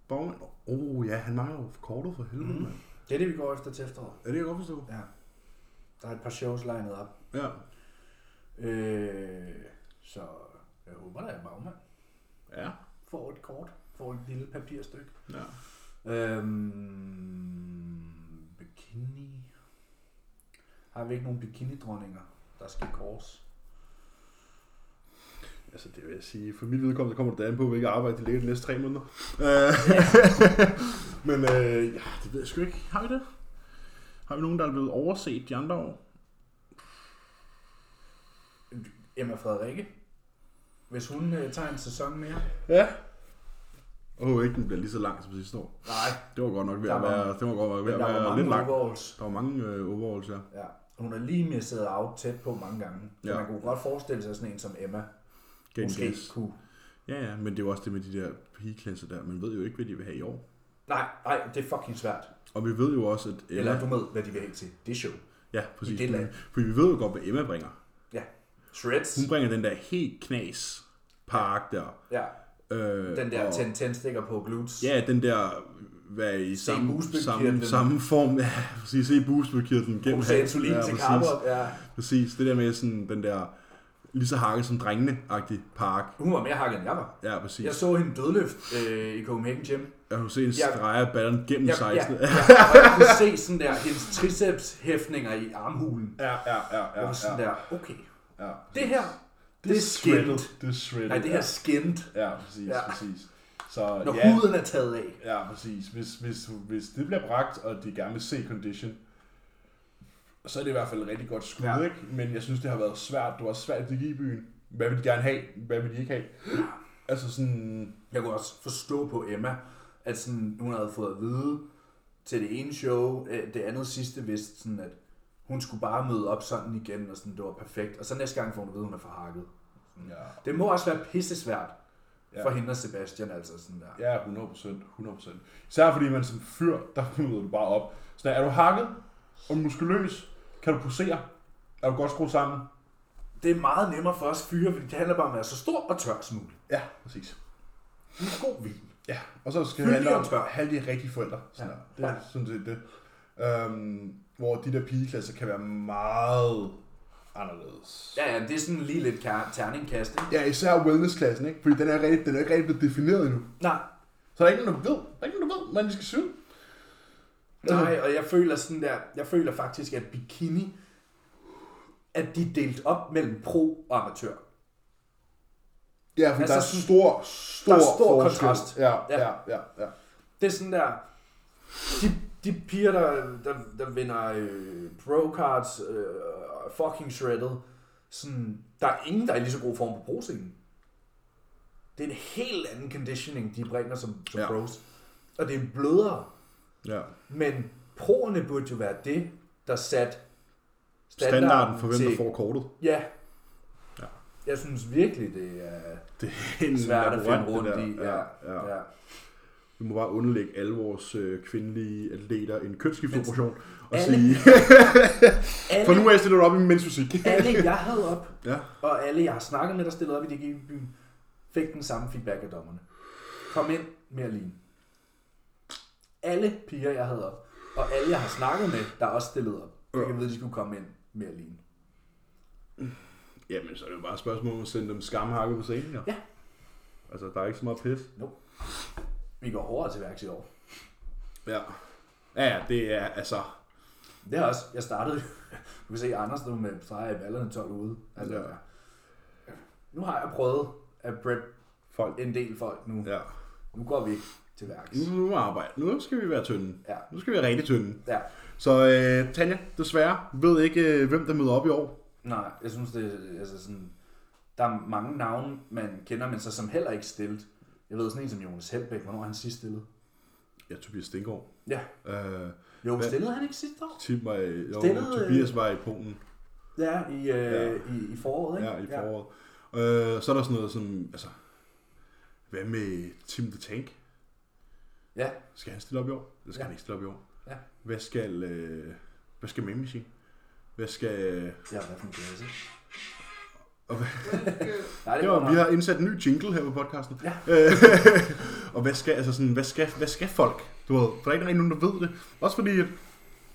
S2: Bowman. Åh oh, ja, han mangler jo kortet for helvede,
S1: Mhm.
S2: mm. mand.
S1: Det er det, vi går efter til efteråret.
S2: Er det, jeg godt forstå?
S1: Ja. Der er et par shows legnet op.
S2: Ja.
S1: Øh, så jeg håber, der er Bagman.
S2: Ja.
S1: Får et kort. Får et lille papirstykke.
S2: Ja.
S1: Øhm, bikini. Har vi ikke nogen bikinidronninger, der skal kors?
S2: Altså, det vil jeg sige, for mit vedkommende kommer det da an på, hvilket arbejde de lægger de næste tre måneder. Øh, [LAUGHS] Men øh, ja, det ved jeg sgu ikke. Har vi det? Har vi nogen, der er blevet overset de andre år?
S1: Emma Frederikke. Hvis hun øh, tager en sæson mere.
S2: Ja. Åh, oh, ikke den bliver lige så lang som sidste år.
S1: Nej,
S2: Det var godt nok ved
S1: Der
S2: at
S1: var-
S2: være, det var godt nok
S1: men
S2: ved at
S1: der var
S2: være lidt
S1: mange
S2: lang.
S1: overalls.
S2: Der var mange øh, overalls, ja.
S1: Ja. Hun har lige misset out tæt på mange gange. Så
S2: Ja.
S1: ja. man kunne godt forestille sig sådan en som Emma.
S2: Gav den
S1: måske
S2: gas.
S1: kunne.
S2: Ja, ja, men det er jo også det med de der pigeklasser der. Man ved jo ikke, hvad de vil have i år.
S1: Nej, nej, det er fucking svært.
S2: Og vi ved jo også, at
S1: Eller du ved, hvad de vil hen til. Det er show.
S2: ja, præcis.
S1: i det land.
S2: For vi ved jo godt, hvad Emma bringer.
S1: Ja. Shreds.
S2: Hun bringer den der helt knas park der.
S1: Ja.
S2: Øh,
S1: Den der
S2: og-
S1: 10 10 stikker på glutes.
S2: Ja, den der være i samme, samme,
S1: bugspytkirtlen.
S2: samme form. Ja, præcis. Se bugspytkirtlen gennem
S1: Hun sagde insulin
S2: ja,
S1: til
S2: præcis.
S1: Carbo. Ja.
S2: Præcis. Det der med sådan den der lige så hakket som drengene-agtig park.
S1: Hun var mere hakket, end jeg var.
S2: Ja, præcis.
S1: Jeg så hende dødløft øh, i Copenhagen Gym.
S2: Jeg kunne se en
S1: Jeg-
S2: streg af balleren gennem
S1: Jeg, ja, ja,
S2: 16.
S1: og jeg kunne se sådan der, hendes tricepshæftninger i armhulen.
S2: ja, ja, ja.
S1: Jeg var sådan der, okay.
S2: ja.
S1: Det her, det er skint.
S2: Det er shredded.
S1: Nej, det her er skint.
S2: Ja, præcis,
S1: Ja.
S2: præcis. Så
S1: Når huden er taget af.
S2: ja, præcis. Hvis, hvis, hvis det bliver bragt, og de gerne vil se condition, så er det i hvert fald et rigtig godt skud,
S1: Ja.
S2: ikke? Men jeg synes, det har været svært. Det var svært i byen. Hvad vil de gerne have? Hvad vil de ikke have? Altså sådan...
S1: Jeg kunne også forstå på Emma, at sådan, hun havde fået at vide til det ene show, øh, det andet sidste vidste, sådan at hun skulle bare møde op sådan igen, og sådan, det var perfekt. Og så næste gang får hun at vide, at hun er for hakket.
S2: Ja,
S1: Det må også være pissesvært for
S2: Ja.
S1: hende og Sebastian, altså sådan der.
S2: ja 100%. 100%. Især fordi man som fyr, der møder du bare op. Så er du hakket og muskuløs? Kan du posere? Er du godt skruet sammen?
S1: Det er meget nemmere for os fyre, fordi det handler bare om at være så stor og tør som muligt.
S2: Ja, præcis.
S1: En god vin.
S2: Ja, og så skal det
S1: Fyldig
S2: handle om
S1: og tør.
S2: at have de rigtige forældre. Sådan ja.
S1: Ja.
S2: der. Det er sådan set det. Øhm, hvor de der pigeklasser kan være meget anderledes.
S1: Ja, ja, det er sådan lige lidt kær- terningkast, ikke?
S2: Ja, især wellnessklassen, ikke? Fordi den er, rigtig, den er ikke rigtig blevet defineret endnu.
S1: Nej,
S2: Så der er ikke nogen, der ved. Der er ikke nogen, der ved, hvordan de skal se ud.
S1: nej, og jeg føler sådan der, jeg føler faktisk, at bikini, at de er delt op mellem pro og amatør.
S2: Ja, fordi
S1: Altså
S2: altså, der er
S1: sådan-
S2: stor, stor,
S1: der er stor
S2: forskel.
S1: kontrast.
S2: Ja,
S1: Ja.
S2: ja, ja, ja.
S1: Det er sådan der, de, de piger, der, der, der vinder øh, pro cards, øh, og fucking shredded, sådan, der er ingen, der er i lige så god form på proscenen. Det er en helt anden conditioning, de bringer som, som
S2: Ja.
S1: ja. pros. Og det er blødere.
S2: ja.
S1: Men proerne burde jo være det, der satte
S2: Standarden for hvem, der
S1: til-
S2: får kortet.
S1: Ja.
S2: Ja.
S1: jeg synes virkelig, det er
S2: Det er en
S1: svært at finde
S2: labyrint, det
S1: rundt
S2: der.
S1: i. Ja,
S2: ja.
S1: ja.
S2: Vi må bare underlægge alle vores øh, kvindelige atleter en kønsskiftoperation og
S1: alle- [LAUGHS]
S2: sige, [LAUGHS] for
S1: Alle,
S2: nu af stiller du op i mens musik.
S1: alle, jeg havde op,
S2: ja.
S1: og alle, jeg har snakket med, der stillede op i DG byen, fik den samme feedback af dommerne. Kom ind mere lean. Alle piger, jeg havde op, og alle, jeg har snakket med, der også stillede op, fik jeg ved, de skulle komme ind mere lean.
S2: [LAUGHS] Jamen, så er det jo bare et spørgsmål om at sende dem skamhakke på scenen, jo.
S1: Ja.
S2: Altså, der er ikke så meget pis.
S1: Vi går hårdere til værks i år.
S2: Ja. Ja, ja, det er altså...
S1: Det er også, jeg startede, [LAUGHS] du kan se Anders nu med streger i ballerne 12 ude. Altså,
S2: Ja.
S1: Nu har jeg prøvet at prep
S2: Folk.
S1: en del folk nu.
S2: Ja. Mm.
S1: Nu går vi til værks.
S2: Nu, nu arbejder. Nu skal vi være tynde.
S1: Ja.
S2: Nu skal vi være rigtig tynde.
S1: Ja.
S2: Så øh, Tanja, desværre, ved ikke, øh, hvem der møder op i år.
S1: Nej, jeg synes, det er altså sådan... Der er mange navne, man kender, men så som heller ikke stillet. Jeg ved sådan en som Jonas Helbæk, hvornår er han sidst stillet?
S2: Ja, Tobias Stengård.
S1: Ja.
S2: Øh,
S1: Jo,
S2: Hvad?
S1: stillede han ikke sidste år?
S2: Tim var i, jo,
S1: Stillede, øh,
S2: Tobias var i Polen
S1: Ja, i, øh, ja. i, i foråret, ikke?
S2: ja, i foråret. Øh, så er der sådan noget som, altså, hvad med Tim the Tank?
S1: Ja.
S2: Skal han stille op i år? Eller skal
S1: Ja.
S2: han ikke stille op i år?
S1: Ja.
S2: Hvad skal, øh, hvad skal Memmishi? Hvad skal...
S1: Ja, hvad for en klasse?
S2: Og
S1: Nej, det,
S2: Det var, vi har indsat en ny jingle her på podcasten.
S1: Ja.
S2: Øh, [LAUGHS] og hvad skal, altså sådan, hvad skal, hvad skal folk? Du ved, for der er ikke rigtig nogen, der ved det. Også fordi, at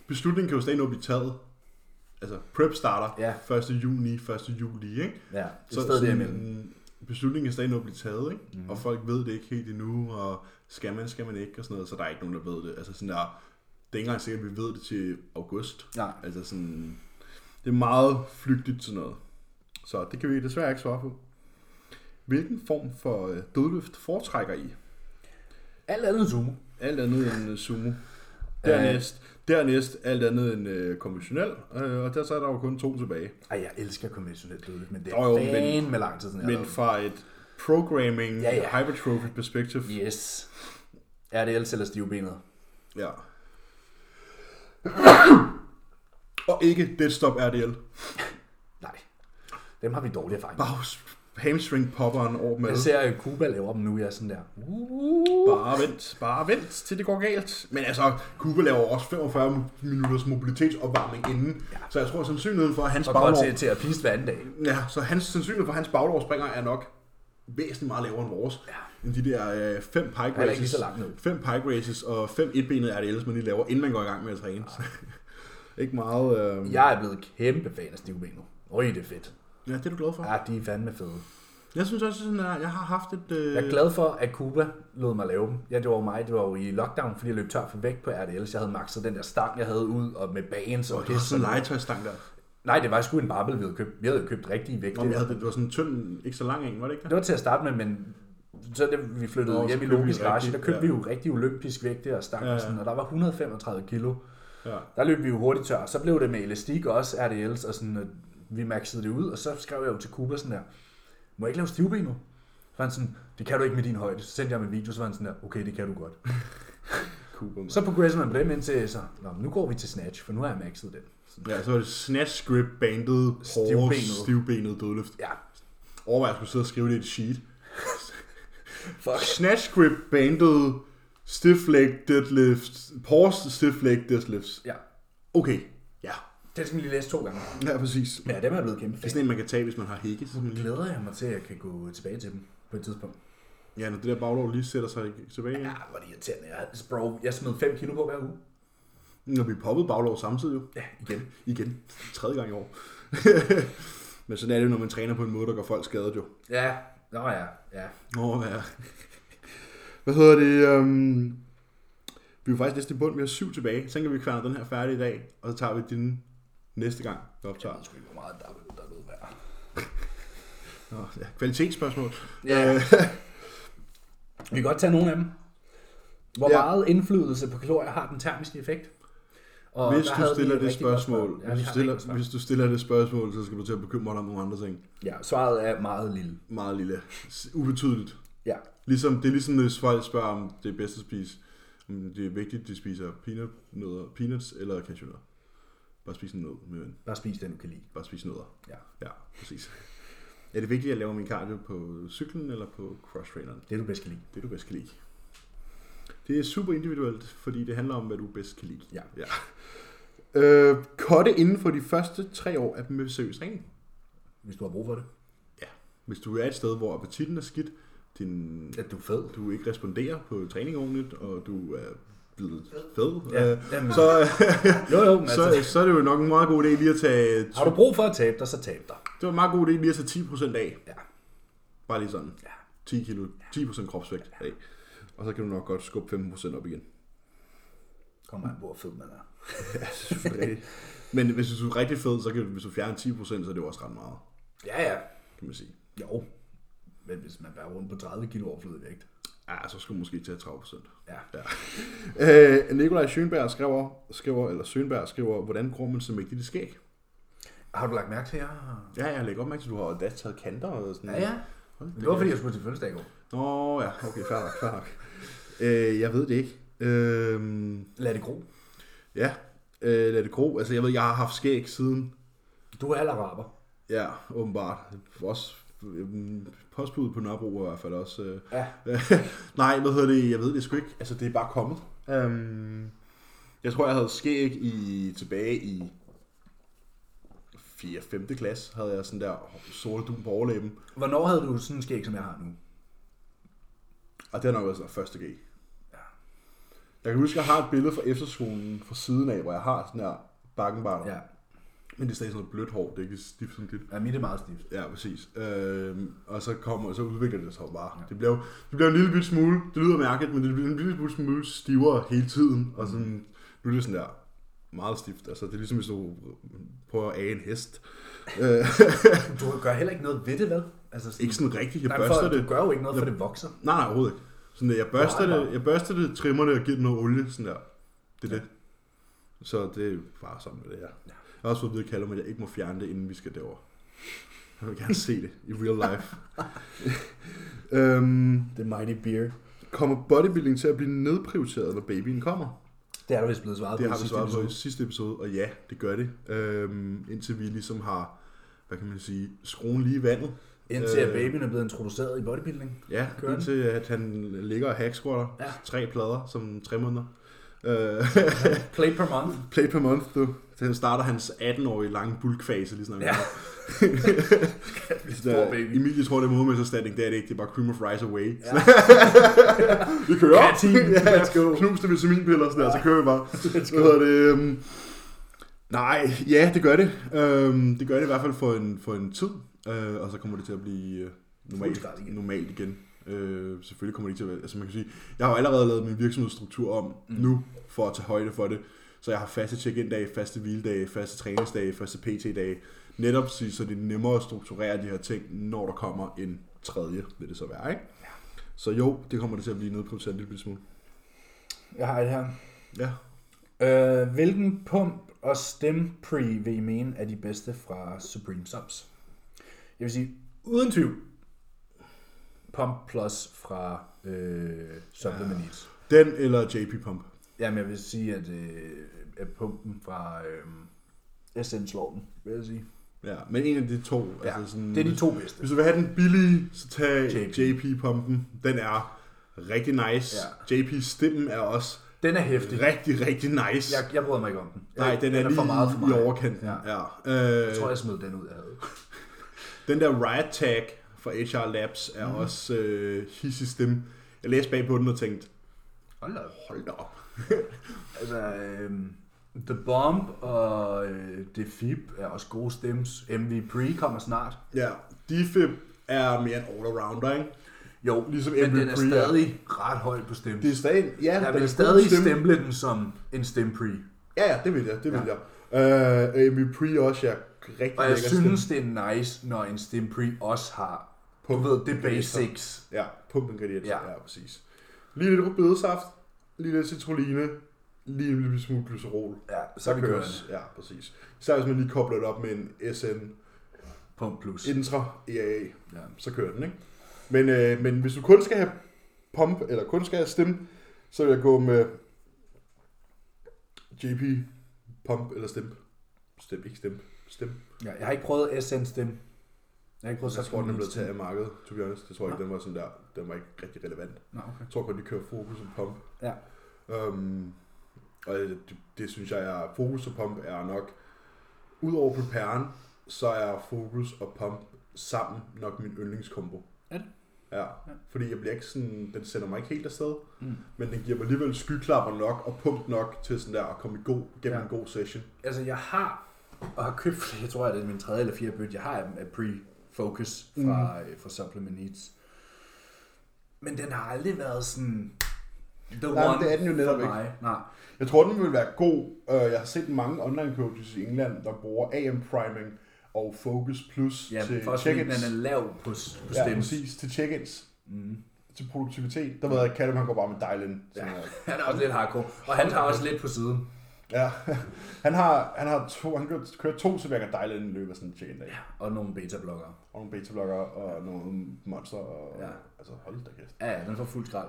S2: beslutningen kan jo stadig nå at blive taget. Altså, prep starter
S1: Ja.
S2: 1. juni, 1. juli, ikke?
S1: Ja, det er stadig
S2: sådan,
S1: derimellem.
S2: Beslutningen kan stadig nå at blive taget, ikke?
S1: Mhm.
S2: Mm. Og folk ved det ikke helt endnu, og skal man, skal man ikke, og sådan noget, så der er ikke nogen, der ved det. Altså sådan der, det er ikke engang sikkert, at vi ved det til august.
S1: Nej,
S2: Altså sådan, det er meget flygtigt sådan noget. Så det kan vi desværre ikke svare på. Hvilken form for øh, dødløft foretrækker I?
S1: alt andet zoom.
S2: Alt andet end øh,
S1: [LAUGHS]
S2: sumo. Dernæst, dernæst alt andet end øh, konventionel, øh, og der så er der jo kun to tilbage.
S1: Ej, jeg elsker konventionelt dødeligt, men det er
S2: Jo,
S1: jo,
S2: jo,
S1: men, med lang tid, siden jeg har
S2: Men fra et programming,
S1: Ja, ja.
S2: hypertrophy perspektiv,
S1: lavet det. Yes. Er det ellers eller stivbenet?
S2: ja. Og ikke deadstop RDL.
S1: Nej. Dem har vi dårlige erfaring. med.
S2: Bare hamstring popperen over med.
S1: Jeg ser, at Cuba laver dem nu, jeg er sådan der. uh,
S2: Bare vent, bare vent, til det går galt. Men altså, Cooper laver også 45 minutters mobilitetsopvarmning inden. Ja. Så jeg tror, at sandsynligheden for, at hans
S1: Og går
S2: baglov...
S1: til, til at piste hver anden dag.
S2: Ja, så hans, sandsynligheden for, at hans baglov springer er nok væsentligt meget lavere end vores.
S1: Ja.
S2: End de der 5 øh, pike
S1: er ikke lige
S2: races.
S1: så langt ned.
S2: 5 pike races og 5 etbenede RDL's, man lige laver, inden man går i gang med at træne. [LAUGHS] ikke meget... Øh...
S1: Jeg er blevet kæmpe fan af stivbenet. Øj, det er fedt.
S2: Ja, det er du glad for.
S1: Ja, de er fandme fede.
S2: Jeg synes også, sådan, at jeg har haft et... Øh...
S1: Jeg er glad for, at Cuba lod mig lave dem. Ja, det var jo mig. Det var jo i lockdown, fordi jeg løb tør for vægt på RDL, så jeg havde maxet den der stang, jeg havde ud, og med bagen, så
S2: Og det er sådan en
S1: nej.
S2: legetøjstang der.
S1: nej, det var sgu en barbel, vi havde købt. Vi havde jo købt rigtig vægt.
S2: Nå, men jeg havde, det var sådan en tynd, ikke så lang en, var det ikke?
S1: Det var til at starte med, men så da vi flyttede
S2: Nå, så
S1: hjem i
S2: købte vi
S1: Logisk Garage,
S2: rigtig,
S1: der købte
S2: ja.
S1: vi jo rigtig olympisk vægte og stang,
S2: Ja,
S1: ja,
S2: ja.
S1: ja. Sådan, og der var 135 kilo.
S2: Ja.
S1: Der løb vi jo hurtigt tør. Så blev det med elastik også, RDL's, og sådan, at vi maxede det ud, og så skrev jeg jo til Cooper sådan der, må jeg ikke lave stivben nu? Så var han sådan, det kan du ikke med din højde. Så sendte jeg ham en video, så var han sådan der, okay, det kan du godt.
S2: Cooper,
S1: Så progressede man på dem indtil, så, Nå, men nu går vi til snatch, for nu har jeg maxet den. Sådan,
S2: Ja, så var det snatch grip bandet, hårde,
S1: Stivbenet.
S2: stivbenet dødløft.
S1: ja,
S2: Overvej, at jeg skulle sidde og skrive det i et sheet.
S1: fuck.
S2: Snatch grip bandet, stiff leg deadlift, pause stiff leg deadlifts.
S1: Ja,
S2: Okay, ja.
S1: den skal man lige læse to gange.
S2: Ja, præcis.
S1: Ja, dem er jeg blevet kæmpe
S2: Det er
S1: fan.
S2: sådan en, man kan tage, hvis man har hække. Så man
S1: Nu
S2: lige...
S1: glæder jeg mig til, at jeg kan gå tilbage til dem på et tidspunkt.
S2: Ja, når det der baglov lige sætter sig tilbage.
S1: Ja,
S2: Ja.
S1: hvor er det irriterende. Jeg, altså, bro, jeg smed 5 kilo på hver uge.
S2: Når vi poppede baglov samtidig jo.
S1: Ja, igen.
S2: Igen. Tredje gang i år. [LAUGHS] Men sådan er det jo, når man træner på en måde, der gør folk skadet jo.
S1: Ja, nå ja, ja.
S2: Nå, hvad er Hvad hedder det? Øhm, vi er jo faktisk næsten i bund. Vi har syv tilbage. Så kan vi kværne den her færdig i dag, og så tager vi din næste gang, vi
S1: Jeg
S2: optager.
S1: ved sgu ikke, hvor meget der, der er noget værd.
S2: Nå, ja. Kvalitetsspørgsmål. Øh,
S1: Ja. [LAUGHS] Vi kan godt tage nogle af dem. Hvor
S2: Ja.
S1: ja. meget indflydelse på kalorier har den termiske effekt? Og
S2: Hvis
S1: der
S2: du
S1: havde vi
S2: stiller
S1: et
S2: det
S1: rigtig godt
S2: spørgsmål,
S1: Ja, vi
S2: hvis du
S1: har et rigtig
S2: stiller,
S1: godt
S2: hvis du stiller det spørgsmål, så skal du til at bekymre dig om nogle andre ting.
S1: spørgsmål. Ja, svaret er meget lille.
S2: Meget lille. Ubetydeligt.
S1: Ja.
S2: Ligesom, det er ligesom, hvis folk spørger, om det er bedst at spise. Om det er vigtigt, at de spiser peanutnødder, peanuts eller cashewnødder. Bare spis en nød, min ven.
S1: Bare spis den, du kan lide.
S2: Bare spis nødder.
S1: Ja.
S2: Ja, præcis. Er det vigtigt, at jeg laver min cardio på cyklen eller på cross-traineren?
S1: Det du bedst kan lide.
S2: Det, du bedst kan lide. Det er super individuelt, fordi det handler om, hvad du bedst kan lide.
S1: Ja.
S2: ja. Øh, kotte inden for de første tre år af med seriøs træning.
S1: Hvis du har brug for det.
S2: Hvis du er et sted, hvor appetitten er skidt, din,
S1: At du er fed.
S2: du ikke responderer på træning ordentligt, og du er blevet fed,
S1: Ja,
S2: ja. øh,
S1: jamen,
S2: [LAUGHS] så,
S1: jo, jo, men altså,
S2: så, så er det jo nok en meget god idé lige at tage,
S1: har du brug for at tabe dig, så tab dig.
S2: det var en meget god idé lige at tage 10% af.
S1: Ja.
S2: Bare lige sådan.
S1: Ja.
S2: 10 kilo, 10% kropsvægt af. Og så kan du nok godt skubbe 15% op igen.
S1: Kommer an på, hvor fed man er.
S2: Ja, selvfølgelig. [LAUGHS] Men hvis du er rigtig fed, så kan du, hvis du fjerner 10%, så er det jo også ret meget,
S1: Ja, ja.
S2: kan man sige.
S1: Jo. Men hvis man bærer rundt på 30 kilo overflødevægt.
S2: Ja, så skulle du måske tage 30%.
S1: Ja.
S2: Ja. Øh, Nikolaj Schönberg skriver, skriver, eller Schönberg skriver, hvordan gror man så mægtigt det skæg?
S1: Har du lagt mærke til, at jeg har...
S2: Ja, jeg lægger op mærke til, at du har da taget kanter og sådan
S1: Ja, ja.
S2: Hold
S1: Men
S2: da
S1: det var,
S2: kæft.
S1: fordi jeg skulle til fødselsdag i går.
S2: Nå ja, okay, fair nok, fair nok. Øh, jeg ved det ikke. Øh,
S1: Lad det gro.
S2: ja, øh, lad det gro. Altså, jeg ved, jeg har haft skæg siden,
S1: Du er halv araber.
S2: ja, åbenbart. Også øh, postbuddet på Nørrebro er i hvert fald også. Øh.
S1: Ja.
S2: [LAUGHS] Nej, hvad hedder det? Jeg ved det sgu ikke. Altså, det er bare kommet. Øhm, jeg tror, jeg havde skæg i, tilbage i 4. 5. klasse, havde jeg sådan der sorte dun på overlæben.
S1: Hvornår havde du sådan en skæg, som jeg har nu?
S2: Og det har nok været sådan første G.
S1: Ja.
S2: Jeg kan huske, at jeg har et billede fra efterskolen fra siden af, hvor jeg har sådan her bakkenbarter.
S1: Ja.
S2: Men det er stadig sådan noget blødt hår, det er ikke stift som dit.
S1: ja mit er meget stift.
S2: Ja, præcis. Øhm, og så kommer og så udvikler det sig jo bare. Ja. Det, bliver, jo- det bliver en lille bit smule, det lyder mærkeligt, men det bliver en lille bit smule stivere hele tiden. Og sådan, nu er det sådan der meget stift. Altså, det er ligesom, hvis du prøver at age en hest. Øh,
S1: [LAUGHS] Du gør heller ikke noget ved det, vel? Altså, sådan,
S2: ikke sådan rigtigt, jeg
S1: Nej,
S2: børster
S1: for,
S2: det.
S1: Du gør jo ikke noget, for det vokser.
S2: Nej, nej, overhovedet ikke. Sådan der, jeg børster
S1: Nej, nej.
S2: det, jeg børster det, trimmer det og giver det noget olie, sådan der. Det er det. Så det er bare sådan med det her. Jeg har også fået at vide, af Callum, at jeg ikke må fjerne det, inden vi skal derover. Jeg vil gerne se det i real life. øhm,
S1: The Mighty Beer.
S2: kommer bodybuilding til at blive nedprioriteret, når babyen kommer?
S1: Det er der vist blevet svaret på.
S2: Det
S1: i
S2: har vi
S1: sidste
S2: svaret på i
S1: episode.
S2: sidste episode, og ja, det gør det. Øhm, indtil vi ligesom har, hvad kan man sige, skruen lige i vandet.
S1: Indtil at
S2: Øh.
S1: babyen er blevet introduceret i bodybuilding.
S2: Ja,
S1: Gør den.
S2: indtil at han ligger og hacksquatter
S1: Ja.
S2: ja. tre plader som tre måneder.
S1: [LAUGHS]
S2: Øh, [LAUGHS]
S1: Play per month.
S2: play per month, du. Så starter hans 18-årige lange bulkfase ligesom lige snart.
S1: Ja. Stor
S2: Der,
S1: baby.
S2: Øh, Emilie tror, det er modermedserstatning. Det er det ikke. Det er bare cream of rice away.
S1: Ja.
S2: Ja. [LAUGHS] vi kører. [LAUGHS]
S1: Kreatin. Let's go.
S2: Knuste vitaminpiller og sådan der, så kører vi bare. Hvad hedder [LAUGHS] det? øhm, nej, ja, det gør det. Øhm, det gør det i hvert fald for en, for en tid. Øh, og så kommer det til at blive øh, normalt,
S1: Fuldstændig igen.
S2: normalt igen. Øh, selvfølgelig kommer det ikke til at være... Altså man kan sige, jeg har jo allerede lavet min virksomhedsstruktur om mm. nu, for at tage højde for det. Så jeg har faste check-in-dage, faste hviledage, faste træningsdage, faste PT-dage. Netop sige, så det er nemmere at strukturere de her ting, når der kommer en tredje, vil det så være, ikke? Ja. Så jo, det kommer det til at blive nedprioriteret en lille bitte smule.
S1: Jeg har et her.
S2: Ja.
S1: Øh, hvilken pump og stempre vil I mene er de bedste fra Supreme Subs? Jeg vil sige, uden tvivl, Pump Plus fra øh, Supplement Needs.
S2: Den eller JP Pump.
S1: Jamen, jeg vil sige, at, øh, at pumpen fra øh, Essence slår den, vil jeg sige.
S2: Ja, men en af de to.
S1: Ja,
S2: altså sådan,
S1: det er de to bedste.
S2: Hvis du vil have den billige, så tag
S1: JP.
S2: JP. JP-pumpen. Den er rigtig nice. Ja. JP-stimmen er også
S1: Den er hæftig.
S2: rigtig, rigtig nice.
S1: Jeg, jeg bryder mig ikke om den.
S2: Nej, den er, lige
S1: for meget for mig.
S2: i overkanten.
S1: Ja.
S2: Ja. Ja. Øh,
S1: Jeg tror, jeg smed den ud, jeg havde.
S2: Den der Riot Tag fra HR Labs er
S1: Mhm.
S2: mm. også øh, hissig stemme. Jeg læste bag på den og tænkte,
S1: Hold da op.
S2: hold da op.
S1: Altså, øhm, The Bomb og øh, The Fib er også gode stems. MV Pre kommer snart.
S2: Ja, Defib er mere en all-arounder, ikke?
S1: Jo,
S2: Ligesom
S1: men
S2: MV
S1: den er
S2: Pre er.
S1: stadig ret høj på stems.
S2: Det er stadig, ja,
S1: jeg
S2: den er
S1: vil
S2: en
S1: stadig
S2: god stemme.
S1: stemple den som en stem pre.
S2: Ja, ja, det vil jeg, det vil ja. jeg. Øh, Amy Pre også, jeg rigtig
S1: Og jeg
S2: lækker
S1: synes, det er nice, når en stem pre også har, du ved, det basics.
S2: Ja, pumpingredienser,
S1: Ja.
S2: ja. ja, præcis. Lige lidt rødbedesaft, lige lidt citrulline, lige en lille smule glycerol.
S1: Ja, så er vi kører den.
S2: Ja, præcis. Især hvis man lige kobler det op med en SN
S1: Pump plus.
S2: Intra EAA,
S1: Ja.
S2: så kører den, ikke? Men, øh, men hvis du kun skal have pump, eller kun skal have stemme, så vil jeg gå med JP pump eller stemp. Stemp, ikke stemp. Stemp.
S1: Ja, jeg har ikke prøvet SN stem. Jeg har ikke prøvet
S2: Jeg
S1: at
S2: tror, den er blevet
S1: til.
S2: taget af markedet, to be honest. Det tror jeg ikke, den var sådan der. Den var ikke rigtig relevant.
S1: Nå, okay.
S2: Jeg tror godt, de kører fokus og pump.
S1: Ja.
S2: Øhm, og det, det, synes jeg er, fokus og pump er nok, udover Prepare'en, så er fokus og pump sammen nok min yndlingskombo.
S1: Er det?
S2: Ja. ja. Fordi jeg bliver ikke sådan, den sender mig ikke helt afsted,
S1: Mm.
S2: men den giver mig alligevel skyklapper nok og pump nok til sådan der at komme i god, gennem
S1: Ja.
S2: ja. en god session.
S1: Altså, jeg har, og har købt, flere, jeg tror, at det er min tredje eller fjerde bøtte, jeg har af dem af Pre-Focus fra, mm. fra Supplement Needs. Men den har aldrig været sådan... The
S2: Nej, men
S1: one
S2: det er den jo netop
S1: for mig. Nej.
S2: Jeg tror, den vil være god. Øh, Jeg har set mange online coaches i England, der bruger AM priming og Focus Plus
S1: Ja,
S2: til
S1: for også fordi den
S2: check-ins.
S1: er lav på, s- på
S2: Ja,
S1: stems.
S2: præcis. Til check-ins.
S1: Mm.
S2: Til produktivitet. Der ved jeg, Callum, han går bare med Dylan.
S1: Ja.
S2: Ja.
S1: Han er også lidt hardcore. Og han tager også lidt på siden.
S2: ja. [LAUGHS] Han har, han har to, han kører, kører to tilbage af Dylan i løbet af sådan en check-in dag.
S1: Og nogle beta-blokkere.
S2: Og nogle beta-blokker og nogle monster. Og,
S1: Ja.
S2: ja. Altså, hold da kæft.
S1: Ja, ja, den får fuld skrald.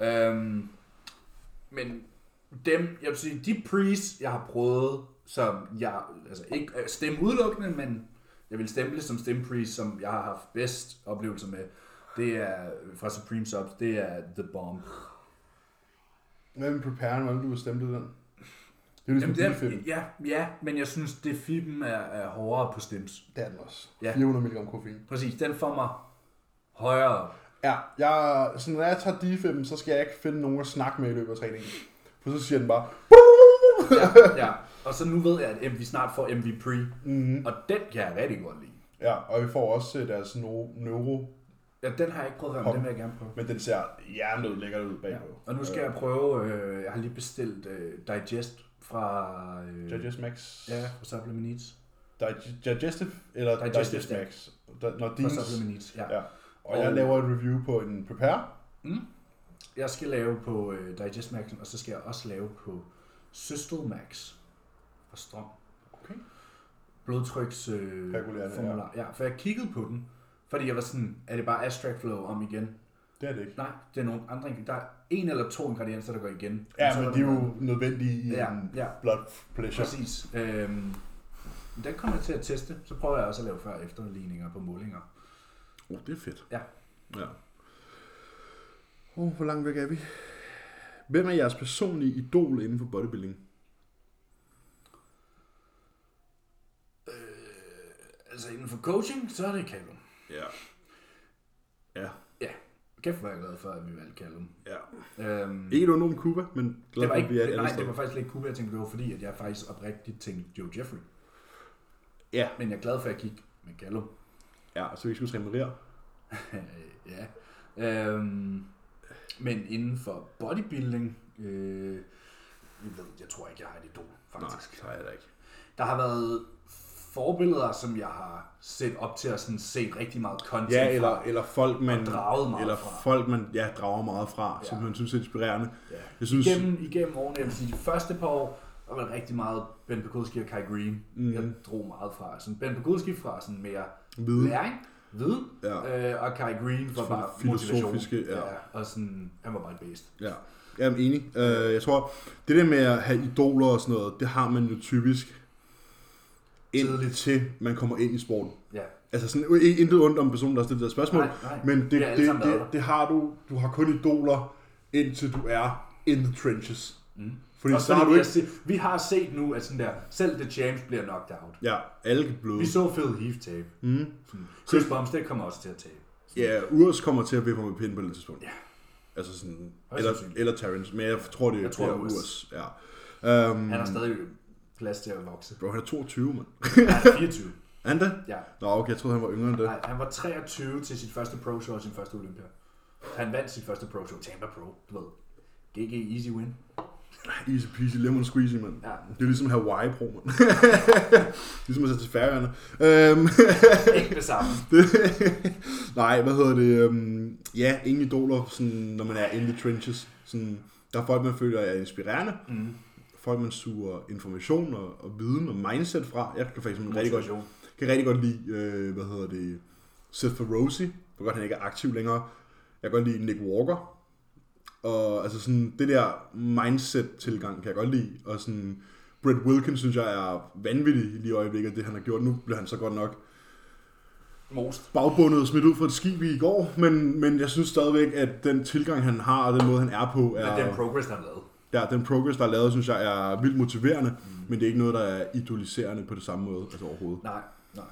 S2: Ja.
S1: Øhm, men dem, jeg vil sige, de pre's, jeg har prøvet, som jeg, altså ikke øh, stemme udelukkende, men jeg vil stemple som stemme pre's, som jeg har haft bedst oplevelse med, det er fra Supreme Subs, det er The Bomb.
S2: Hvad med preparen? Hvordan du har stemt den? Det er jo ligesom
S1: Jamen, det
S2: Jamen,
S1: er,
S2: film.
S1: ja, ja, men jeg synes, det fiben er, er hårdere på stems.
S2: Det er den også.
S1: Ja.
S2: 400 mg koffein.
S1: Præcis, den får mig højere op.
S2: Ja, jeg, sådan, når jeg tager D5, så skal jeg ikke finde nogen at snakke med i løbet af træningen. For så siger den bare...
S1: Ja, ja. Og så nu ved jeg, at vi snart får MV Pre,
S2: Mm,
S1: og den kan jeg rigtig godt lide.
S2: ja, og vi får også øh, deres no- neuro,
S1: Ja, den har jeg ikke prøvet før, men den vil jeg gerne prøve.
S2: men den ser hjernelød lækkert ud
S1: Ja.
S2: bagpå.
S1: Og nu skal jeg prøve, øh, jeg har lige bestilt øh, Digest fra... Øh,
S2: Digest Max.
S1: Ja, fra Supplement Needs.
S2: Dig- digestive eller
S1: Digestive,
S2: Digestive,
S1: ja.
S2: Max. Da, når
S1: Fra
S2: din,
S1: Supplement Needs, ja.
S2: ja. Og
S1: Og-
S2: jeg laver et review på en prepare.
S1: Jeg skal lave på øh, Digest Maxen, og så skal jeg også lave på Systel Max fra Strøm.
S2: Okay.
S1: Blodtryks... Øh,
S2: Regulerende,
S1: formular. ja. for jeg kiggede på den, fordi jeg var sådan, er det bare Astrac Flow om igen?
S2: Det er det ikke.
S1: Nej, det er nogle andre ing- Der er en eller to ingredienser, der går igen.
S2: Ja,
S1: så
S2: men
S1: var
S2: de er
S1: der-
S2: jo nødvendige i
S1: Ja,
S2: en
S1: ja.
S2: blood pleasure.
S1: Præcis. Øhm, den kommer jeg til at teste. Så prøver jeg også at lave før- og efterligninger på målinger.
S2: Oh, det er fedt.
S1: Ja.
S2: ja. Oh, hvor langt væk er vi? Hvem er jeres personlige idol inden for bodybuilding?
S1: Altså inden for coaching, så er det Callum.
S2: Ja. Ja,
S1: Ja, kæft hvor er jeg glad for, at vi valgte Callum.
S2: ja.
S1: Øhm,
S2: Ikke noget om Cuba, men glad
S1: det
S2: for,
S1: var
S2: at vi er
S1: ikke,
S2: et
S1: nej,
S2: andet
S1: det var
S2: sted.
S1: faktisk lidt Kuba, jeg tænkte, det var fordi, at jeg faktisk oprigtigt tænkte Joe Jeffrey.
S2: Ja,
S1: Men jeg er glad for, at jeg gik med Callum. [LAUGHS]
S2: ja, så vi ikke skulle træne Maria.
S1: ja. Øhm, men inden for bodybuilding, øh, jeg, ved, jeg tror ikke, jeg har et idol, faktisk.
S2: Nej, det er det ikke.
S1: Der har været forbilleder, som jeg har set op til og sådan set rigtig meget content
S2: Ja,
S1: fra.
S2: eller, eller folk, man,
S1: draget meget
S2: eller
S1: fra.
S2: folk, man ja, drager meget fra, ja.
S1: Ja.
S2: som man synes er inspirerende.
S1: Ja.
S2: Jeg synes,
S1: Igennem, igennem årene, jeg vil sige, de første par år, der var det rigtig meget Ben Pekulski og Kai Green.
S2: Mhm.
S1: Mm. Jeg drog meget fra. Sådan ben Pekulski fra sådan mere
S2: Viden.
S1: læring, viden,
S2: Ja.
S1: øh, og Kai Green var bare
S2: filosofiske,
S1: motivation.
S2: ja.
S1: Og sådan, han var bare et bedst.
S2: Ja, jeg er enig. Øh, jeg tror, det der med at have idoler og sådan noget, det har man jo typisk
S1: Tidligt.
S2: indtil til man kommer ind i sporten.
S1: Ja.
S2: Altså sådan, øh, intet ondt om personen, der har stillet det der spørgsmål,
S1: Nej, nej.
S2: men
S1: Vi
S2: det,
S1: har
S2: det,
S1: alle
S2: det,
S1: sammen været
S2: det,
S1: der.
S2: det, har du, du har kun idoler, indtil du er in the trenches. Mm. Fordi
S1: Og
S2: så
S1: så
S2: har
S1: fordi
S2: du
S1: vi, har
S2: ikke...
S1: set, vi har set nu, at sådan der, selv The Champs bliver knocked out.
S2: Ja, alle kan bløde.
S1: Vi så Phil Heath tabe. Mm. Chris Bumstead kommer også til at tabe.
S2: Ja, Urs kommer til at vippe mig med pinden på et tidspunkt.
S1: Ja.
S2: Altså sådan,
S1: Højst
S2: eller,
S1: sandsynligt.
S2: eller Terrence, men jeg tror, det
S1: Jeg tror,
S2: er
S1: Urs.
S2: Urs. Ja. Um,
S1: Han har stadig plads til at [LAUGHS] vokse.
S2: bro, han er 22, mand.
S1: Han er 24.
S2: Er han det?
S1: Ja.
S2: Nå, okay, jeg troede, han var yngre end det.
S1: Nej, han var 23 til sit første pro show og sin første Olympia. Han vandt sit første pro show, Tampa Pro, du ved. GG easy win.
S2: Easy peasy, lemon squeezy, mand.
S1: Ja.
S2: Det er ligesom Hawaii, bro, mand. [LAUGHS] ligesom at tage til færøerne. Øhm, [LAUGHS]
S1: Ikke det samme.
S2: nej, hvad hedder det? Øhm, ja, ingen idoler, sådan, når man er in the trenches. Sådan, der er folk, man føler er inspirerende. Mm. Folk, man suger information og, og viden og mindset fra. Jeg kan faktisk rigtig godt,
S1: Motivation.
S2: kan rigtig godt lide, øh, hvad hedder det, Seth Ferrosi. Jeg kan godt, han ikke er aktiv længere. Jeg kan godt lide Nick Walker. Og altså sådan, det der mindset-tilgang kan jeg godt lide. Og sådan, Brett Wilkins synes jeg er vanvittig lige i øjeblikket, det han har gjort. Nu bliver han så godt nok
S3: Most.
S2: bagbundet og smidt ud fra et skib i går, men, men jeg synes stadigvæk, at den tilgang, han har, og den måde, han er på,
S3: Ja. Den
S2: er,
S3: progress, han lavede.
S2: ja, den progress, der er lavet, synes jeg er vildt motiverende,
S3: Mm.
S2: men det er ikke noget, der er idoliserende på det samme måde, altså overhovedet.
S1: Nej, nej.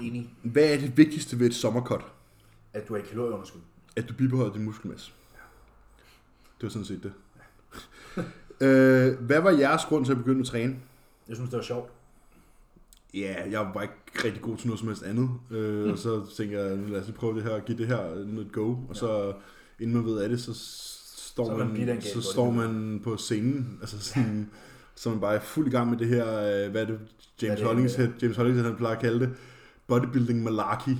S3: Enig.
S2: Hvad er det vigtigste ved et sommerkot?
S1: At du er i kalorieunderskud.
S2: At du bibeholder din muskelmasse. Det var sådan set det. [LAUGHS] øh, hvad var jeres grund til at begynde at træne?
S1: Jeg synes, det var sjovt.
S2: Ja, jeg var ikke rigtig god til noget som helst andet. Øh, mm. Og så tænkte jeg, lad os lige prøve det her, give det her noget go. Og så, inden man ved af det, så s- står
S1: Så er
S2: så
S1: man
S2: man,
S1: bidt af en
S2: man,
S1: gave,
S2: så
S1: hvor det
S2: står
S1: lyder.
S2: man på scenen. Altså sådan, så er man bare er fuld i gang med det her, øh, hvad er det, James
S1: det,
S2: Hollingshead, James Hollingshead, han plejer at kalde det, bodybuilding malarkey.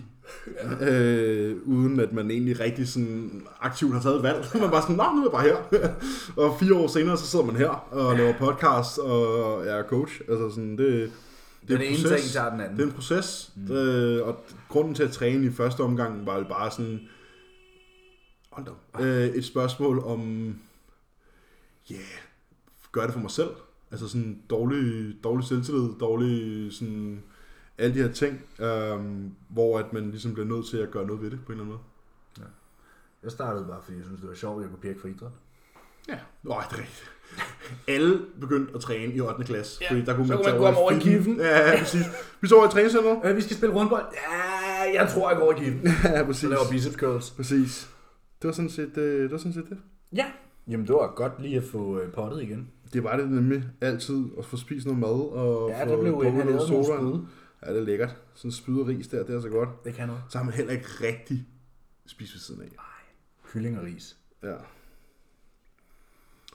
S2: Ja. [LAUGHS] Øh, uden at man egentlig rigtig sådan aktivt har taget et valg. [LAUGHS] man er bare sådan, nej, nu er jeg bare her. [LAUGHS] og fire år senere, så sidder man her og laver podcast og jeg er coach. Altså sådan, det,
S1: Det er den ene ting, tager den anden.
S2: det er en proces, mm. øh, og grunden til at træne i første omgang var jo bare sådan hold da, op,
S3: Ah.
S2: øh, et spørgsmål om, ja, yeah, gør det for mig selv. Altså sådan dårlig, dårlig selvtillid, dårlig sådan alle de her ting, øh, hvor at man ligesom bliver nødt til at gøre noget ved det på en eller anden måde.
S1: Jeg startede bare, fordi jeg synes, det var sjovt, at jeg kunne pirke for idræt.
S2: Ja, nej, det er rigtigt. Alle begyndte at træne i 8. klasse,
S3: Ja,
S2: fordi der kunne
S3: så
S2: man,
S3: kunne
S2: tage
S3: man gå om over i
S2: filmen.
S3: kiffen.
S2: Ja, ja, præcis. Vi tog over i
S3: [LAUGHS]
S2: træningscenteret.
S1: Øh, vi skal spille rundbold. Ja, jeg tror, jeg går i gym.
S2: Ja,
S1: Så
S2: præcis.
S1: laver biceps curls.
S2: Præcis. Det var sådan set øh, det. Var sådan set det.
S1: Ja. Jamen, det var godt lige at få øh, pottet igen.
S2: det var det nemlig altid at få spist noget mad og
S1: Ja,
S2: få
S1: der blev
S2: drukket
S1: han
S2: noget
S1: lavet nogle
S2: soda.
S1: spyd.
S2: Ja, det er lækkert. Sådan spyd og ris der, det er så godt.
S1: Det kan noget.
S2: Så har man heller ikke rigtig spist ved siden af.
S1: Kylling og ris.
S2: Ja.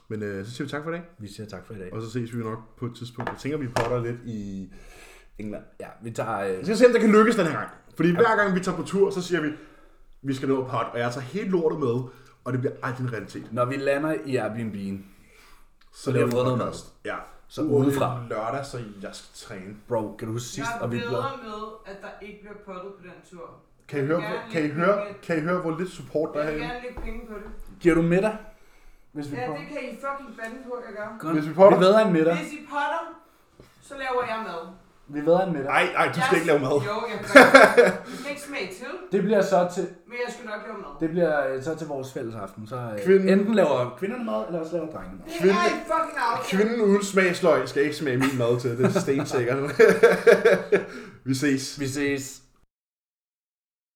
S2: Men øh, så siger vi tak for i dag,
S1: Vi siger tak for i dag.
S2: og så ses vi nok på et tidspunkt. Jeg tænker, vi potter lidt i England.
S1: Ja, vi tager... Øh,
S2: Vi skal se, om det kan lykkes den her gang. Fordi hver gang vi tager på tur, så siger vi, vi skal nå pot, og jeg tager helt lortet med, og det bliver aldrig en realitet.
S1: når vi lander i Airbnb,
S2: Så
S1: vi har
S2: vi
S1: fået noget
S2: podcast. Ja.
S1: Så
S2: Ude
S1: udefra.
S2: Lørdag, så jeg skal træne.
S1: bro, kan du huske [LAUGHS] sidst,
S4: Jeg er
S1: og vi blev...
S4: bedre med, at der ikke bliver pottet på den tur.
S2: Kan I, høre, kan, I høre, kan I høre, hvor lidt support der er
S4: Jeg vil
S2: herinde?
S4: gerne lægge penge på det.
S1: Giver du middag? Hvis vi
S4: Ja,
S1: får...
S4: det kan I fucking bande på, jeg gør.
S1: Godt.
S2: Hvis vi får
S1: Vi
S2: dig?
S1: vedder en middag.
S4: Hvis I potter, så laver jeg mad.
S1: Vi vedder en middag.
S2: Nej, nej, du skal
S4: Jeg-
S2: ikke lave mad.
S4: Jo, jeg gør.
S1: [LAUGHS]
S4: Jeg skal ikke smage til,
S1: Det bliver så til...
S4: men jeg skal nok lave mad.
S1: Det bliver øh, så til vores fælles aften. Så øh,
S2: Kvinden-
S1: enten laver kvinderne mad, eller også laver drengene mad.
S4: Det er
S2: Kvinde-
S4: en fucking aftale.
S2: Kvinden uden [LAUGHS] smagsløg skal ikke smage min mad til, det er stensikkert. vi ses.
S1: Vi ses.